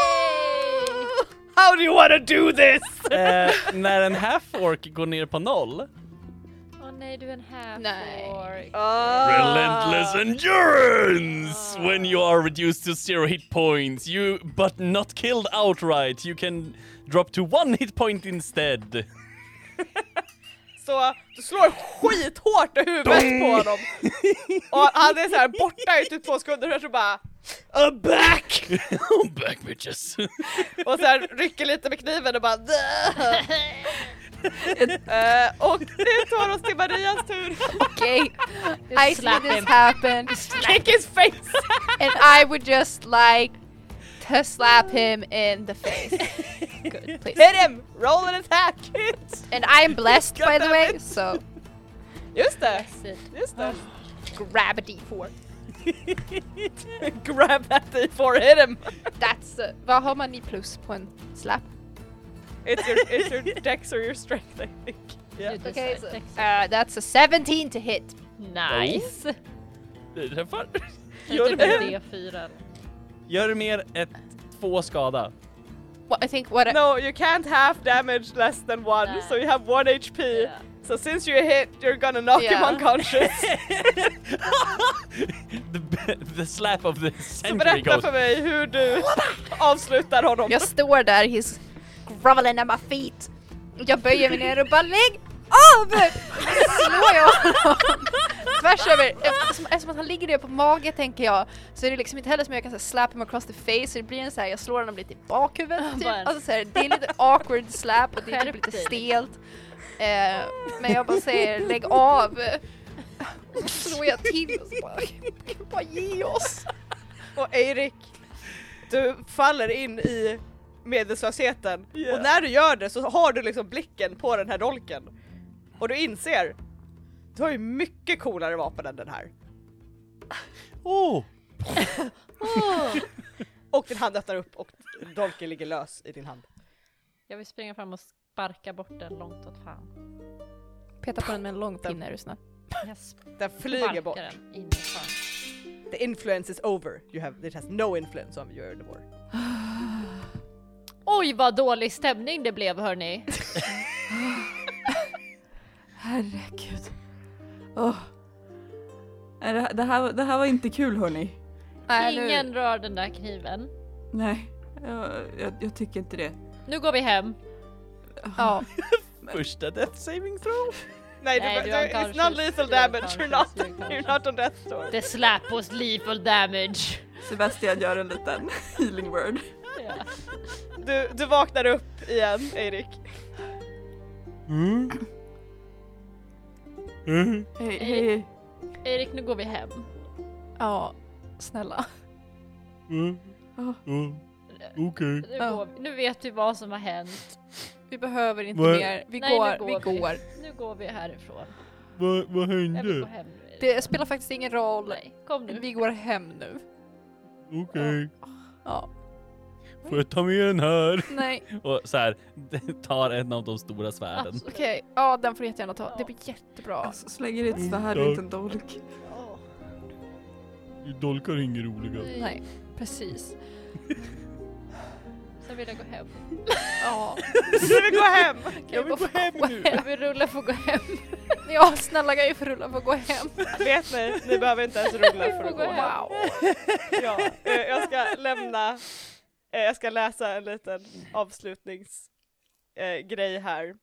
Ah! How do you wanna do this? Eh, när en half-ork går ner på noll. Åh nej du är en half Nej. orc. Relentless Ah, Ah. endurance! When you are reduced to zero hit points, you but not killed outright, you can drop to one hit [LAUGHS] point instead. Så du slår skithårt i huvudet på honom. Och han är så här borta i typ två sekunder och så bara... I'm back! I'm back bitches! Och så här rycker lite med kniven och bara... Eh, och det tar oss till Marias tur. [LAUGHS] Okay, Du I see slap this [LAUGHS] him. happen Kick his face! and I would just like to slap him in the face. Good, please. Hit him! Roll an attack! Hit! And I'm blessed, by the way, Goddammit. so Just det, Sit. just det. grab a d4. Grab that D4, hit him! That's uh, vad har man i plus på en slap? It's your, it's your dex or your strength I think. Yeah. Du Okay, so, decide. uh, that's a 17 to hit. Nice! Det träffar. Gör Sätter det. på D4. Gör mer ett två skada. What, I think what I, No, you can't have damage less than one, Nej. so you have one HP. Yeah. So since you hit, you're gonna knock him Yeah. unconscious. [LAUGHS] the, the slap of the century Berätta goes. för mig hur du avslutar honom. jag står där, he's groveling at my feet. Jag böjer mig ner och bara lägg av! [LAUGHS] Så slår jag honom tvärs över. Eftersom, eftersom att han ligger ner på mage tänker jag så är det liksom inte heller som jag kan så här, slap him across the face så det blir en så här, jag slår honom lite i bakhuvudet typ. bara en- Alltså, så här, det är lite awkward slap och det är typ Skärp lite dig. stelt. Eh, men jag bara säger lägg av. Och så slår jag till och så bara, "Gud, bara ge oss. [LAUGHS] Och Erik, du faller in i medvetslösheten Yeah. och när du gör det så har du liksom blicken på den här dolken. Och du inser, du har ju mycket coolare vapen än den här. Oh. Och din hand öppnar upp och dolken ligger lös i din hand. Jag vill springa fram och sparka bort den långt åt fan. Peta på den med en lång pinne är du snabb. [LAUGHS] Jag sparkar Den flyger bort. den in i fan. The influence is over. You have, it has no influence on you anymore. Oj vad dålig stämning det blev [LAUGHS] hörni! [LAUGHS] Herregud. Åh. Nej, Eh, Det, här- det, här, det här var inte kul hörni. Nej, nu- Ingen rör den där kniven. Nej, jag, jag, jag tycker inte det. Nu går vi hem. Ja. Första death saving [LAUGHS] throw. Nej, Nej, du, du du, har it's unconscious. not lethal Du har damage. You're not, unconscious, du har you're not on death door. The slap was lethal damage. [LAUGHS] Sebastian gör en liten healing word. Ja. Du, du vaknar upp igen, [LAUGHS] Erik. Mm. Mm. Hej, hej. Erik nu går vi hem. Ja, snälla. Mm. Ah. Ja. Mm. Okej. Nu, Ja. går vi. nu vet vi vad som har hänt. Vi behöver inte Nej. mer. Vi Nej, nu går, vi går vi. går. Nu går vi härifrån. Vad, vad Jag vill gå hände? hem nu. Det spelar faktiskt ingen roll. Nej, kom nu. Vi går hem nu. Okej, Ja. får jag ta med den här? Nej, Och så här, [LAUGHS] tar en av de stora svärden. Absolut. okej. Ja, den får du jättegärna ta. Det blir jättebra. Alltså, slänger ett svärd och inte en dolk. Åh, Ah. Dolkar är inget roliga. nej. Nej, precis. Sen vill jag gå hem. Ja. Nu vill vi gå hem! Jag vill gå hem nu. Jag vill rulla för att gå hem. Ja, snälla kan jag få rulla för att gå hem. Vet ni, ni behöver inte ens rulla Vi för får att gå gå hem. hem. Wow. Ja, eh, jag ska lämna, eh, jag ska läsa en liten avslutningsgrej här.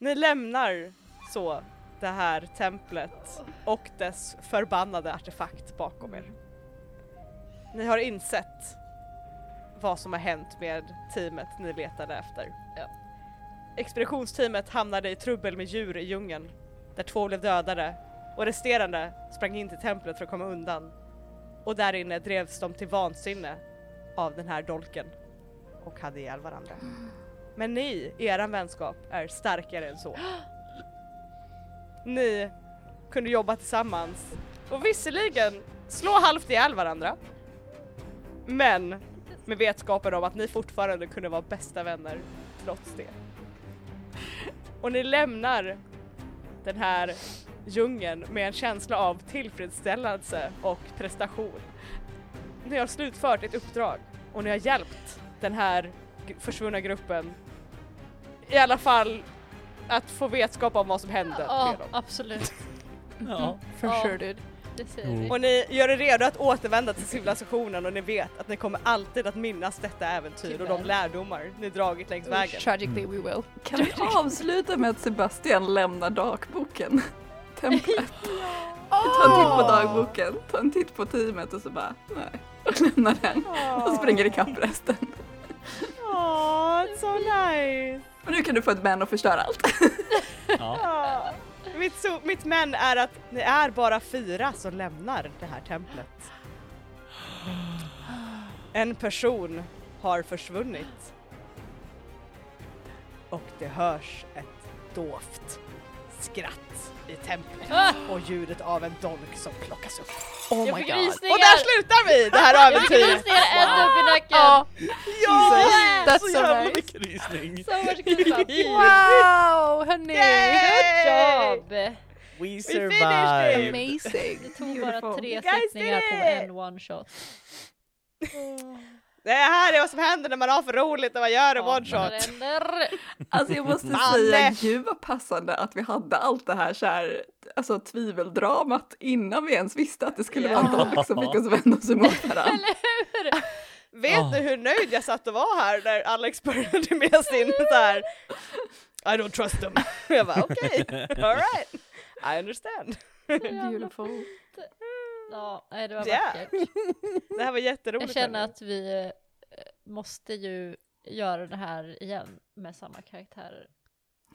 Ni lämnar så det här templet och dess förbannade artefakt bakom er. Ni har insett vad som har hänt med teamet ni letade efter. Expeditionsteamet hamnade i trubbel med djur i djungeln där två blev dödade och resterande sprang in till templet för att komma undan och där inne drevs de till vansinne av den här dolken och hade ihjäl varandra. Men ni, eran vänskap, är starkare än så. Ni kunde jobba tillsammans och visserligen slå halvt ihjäl varandra. Men med vetskapen om att ni fortfarande kunde vara bästa vänner trots det. Och ni lämnar den här djungeln med en känsla av tillfredsställelse och prestation. Ni har slutfört ett uppdrag och ni har hjälpt den här gr- försvunna gruppen i alla fall att få vetskap om vad som hände Ja, med dem. absolut. Ja. [LAUGHS] For Ja. sure dude. Det säger vi. Och ni gör er redo att återvända till civilisationen och ni vet att ni kommer alltid att minnas detta äventyr och de Tyvärr. lärdomar ni dragit längs vägen. Tragically we will. Kan vi avsluta med att Sebastian lämnar dagboken? [LAUGHS] Templet. Ta en titt på dagboken, ta en titt på teamet och så bara nej. Och lämnar den och springer ikapp resten. Åh, it's so nice! Och nu kan du få ett man och förstöra allt. ja. Ah. Mitt, so- mitt men är att ni är bara fyra som lämnar det här templet. En person har försvunnit. Och det hörs ett dovt skratt i templet och ljudet av en dolk som plockas upp. Oh Ah! Jag my fick god. rysningar! Och där slutar vi det här [LAUGHS] Jag fick äventyret! rysningar ända upp i nacken! Ja, Ja! that's Så so jävla nice. [LAUGHS] mycket rysning. Så varsågod! [LAUGHS] Wow, hörni. Good Yay! job! We survived. Amazing. Det tog bara tre You guys did sättningar på it! en one shot. Det här är vad som händer när man har för roligt och man gör en Ja, one shot. kalender. Alltså jag måste Manne! säga, gud vad passande att vi hade allt det här så här, alltså tviveldramat innan vi ens visste att det skulle vara en dolk som fick oss vända oss emot varandra. Vet Ah. ni hur nöjd jag satt och var här när Alex började med sin så här I don't trust them. [LAUGHS] Jag bara okej, alright, I understand. Beautiful. Ja, nej, det var Yeah. [LAUGHS] vackert. Det här var jätteroligt. Jag känner hörni. att vi eh, måste ju göra det här igen med samma karaktärer.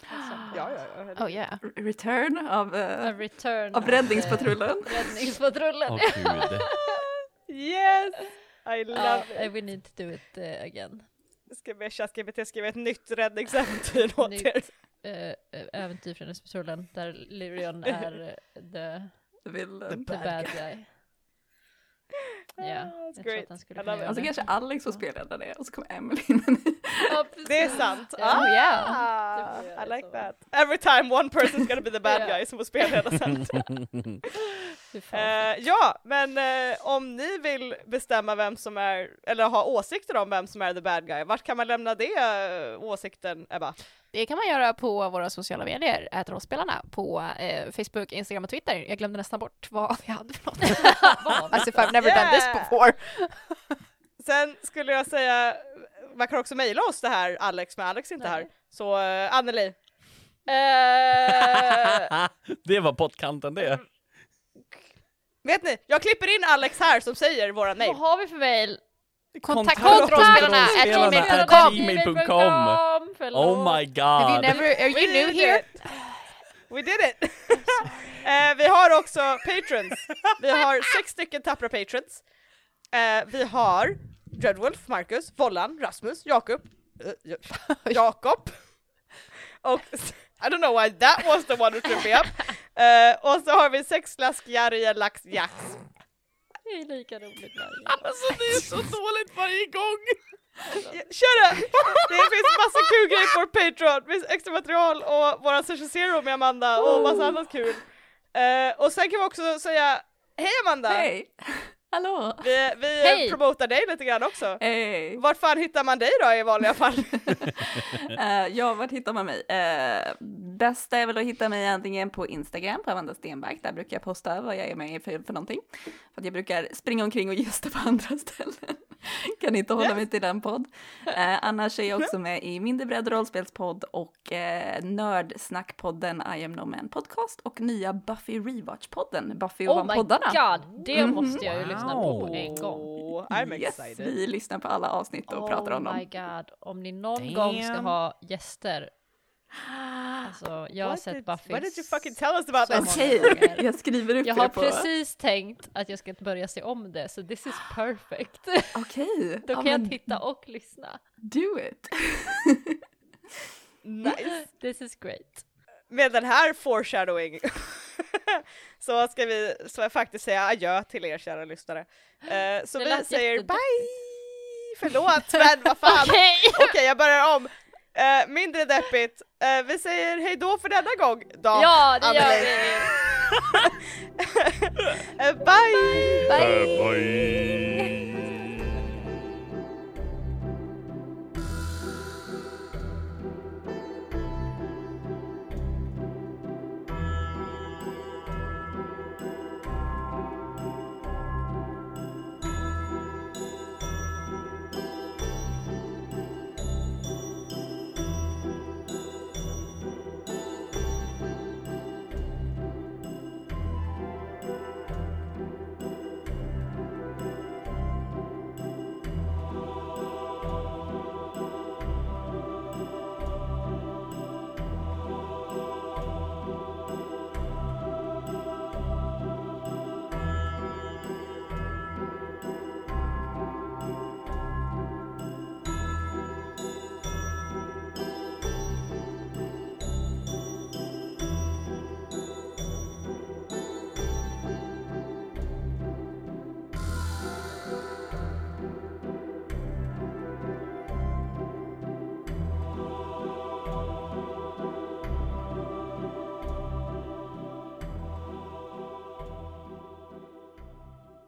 Samma- Ja, ja, ja. herregud. Oh yeah. Return av, eh, A return av räddningspatrullen. eh, Räddningspatrullen. Åh gud. Yes! I Ja, love it. eh, we need to do it eh, again. Ska vi ChatGPT skriva ett nytt räddningsäventyr åt [LAUGHS] Nytt. er? Eh, eh, Äventyr från Räddningspatrullen där [LAUGHS] Lyrion är eh, the, Vill, eh, the bad [LAUGHS] guy. Ja, Ah, that's jag tror great. att han I skulle love kunna it. göra Alltså det. kanske Alex får spelledare det och så kommer Emily in. Ja, precis. Det är sant. Ja. Ah, Oh, yeah. Det får I jag göra like så. that. Every time one person's gonna be the bad Ja. guy som får spela sen. Fy fan. Eh, ja, men eh, om ni vill bestämma vem som är, eller ha åsikter om vem som är the bad guy, vart kan man lämna det eh, åsikten Ebba? Det kan man göra på våra sociala medier, ät rollspelarna, på eh, Facebook, Instagram och Twitter. Jag glömde nästan bort vad vi hade för något. As if I've never done this Yeah! before. Sen skulle jag säga, man kan också mejla oss det här Alex, men Alex är inte här. Så uh, Anneli, Eh, det var pottkanten det. [LAUGHS] vet ni, jag klipper in Alex här som säger våra nej. vad har vi för mail? Kontakt Kontakt- rollspelarna at rollspelarna gmail.com. at gmail.com. Förlåt. Oh my Ah, Have you god. never, are you new here? We did it! [LAUGHS] Eh, vi har också patrons. Vi har sex stycken tappra patrons. Eh, vi har Dreadwolf, Marcus, Vollan, Rasmus, Jakob, eh, Ja- Jakob och s- I don't know why that was the one who tripped me up. Eh, och så har vi sex slask, jarrier, lax, jax. Det är lika roligt varje [LAUGHS] Alltså det är så dåligt varje gång! Ja, Kör det! Det finns massa kul grejer på vår Patreon, det finns extra material och våra session zero med Amanda och massa annat kul. Eh, och sen kan vi också säga Hej Amanda! Hej! Hallå! Vi, vi Hej! promotar dig lite grann också. Hej! Vart fan hittar man dig då i vanliga fall? Eh, ja, vart hittar man mig? Eh, bästa är väl att hitta mig antingen på Instagram, på Amanda Stenback. Där brukar jag posta vad jag är med i för, för någonting. För att jag brukar springa omkring och gästa på [LAUGHS] andra ställen. kan inte hålla mig till den podd. Eh, annars är jag också med i Mindre bredd och rollspelspodd och eh, nördsnackpodden I am no man podcast och nya Buffy Rewatch-podden, Buffy Oh my ovan poddarna. god, det måste jag ju lyssna på Wow. en gång. Oh, I'm [LAUGHS] Yes, excited. vi lyssnar på alla avsnitt och pratar om oh my dem. god, om ni någon gång ska Damn. ha gäster. Alltså, jag har What sett did- Buffy. What did you fucking tell us about så många this? Okej, gånger. [LAUGHS] jag skriver upp Jag det har på... precis tänkt att jag ska börja se om det, så this is perfect. [LAUGHS] Okej, Då ja, kan jag men titta och lyssna. do it! Nice. This is great. Med den här foreshadowing [LAUGHS] så ska vi så faktiskt säga adjö till er kära lyssnare. Eh, så Det vi lät säger jätteduktigt. bye! Förlåt men vad fan! Okej [LAUGHS] Okej! jag börjar om. Eh, mindre deppigt. Eh, vi säger hej då för denna gång. Då. [LAUGHS] Ja, det gör Anneli. vi! Eh, bye. bye.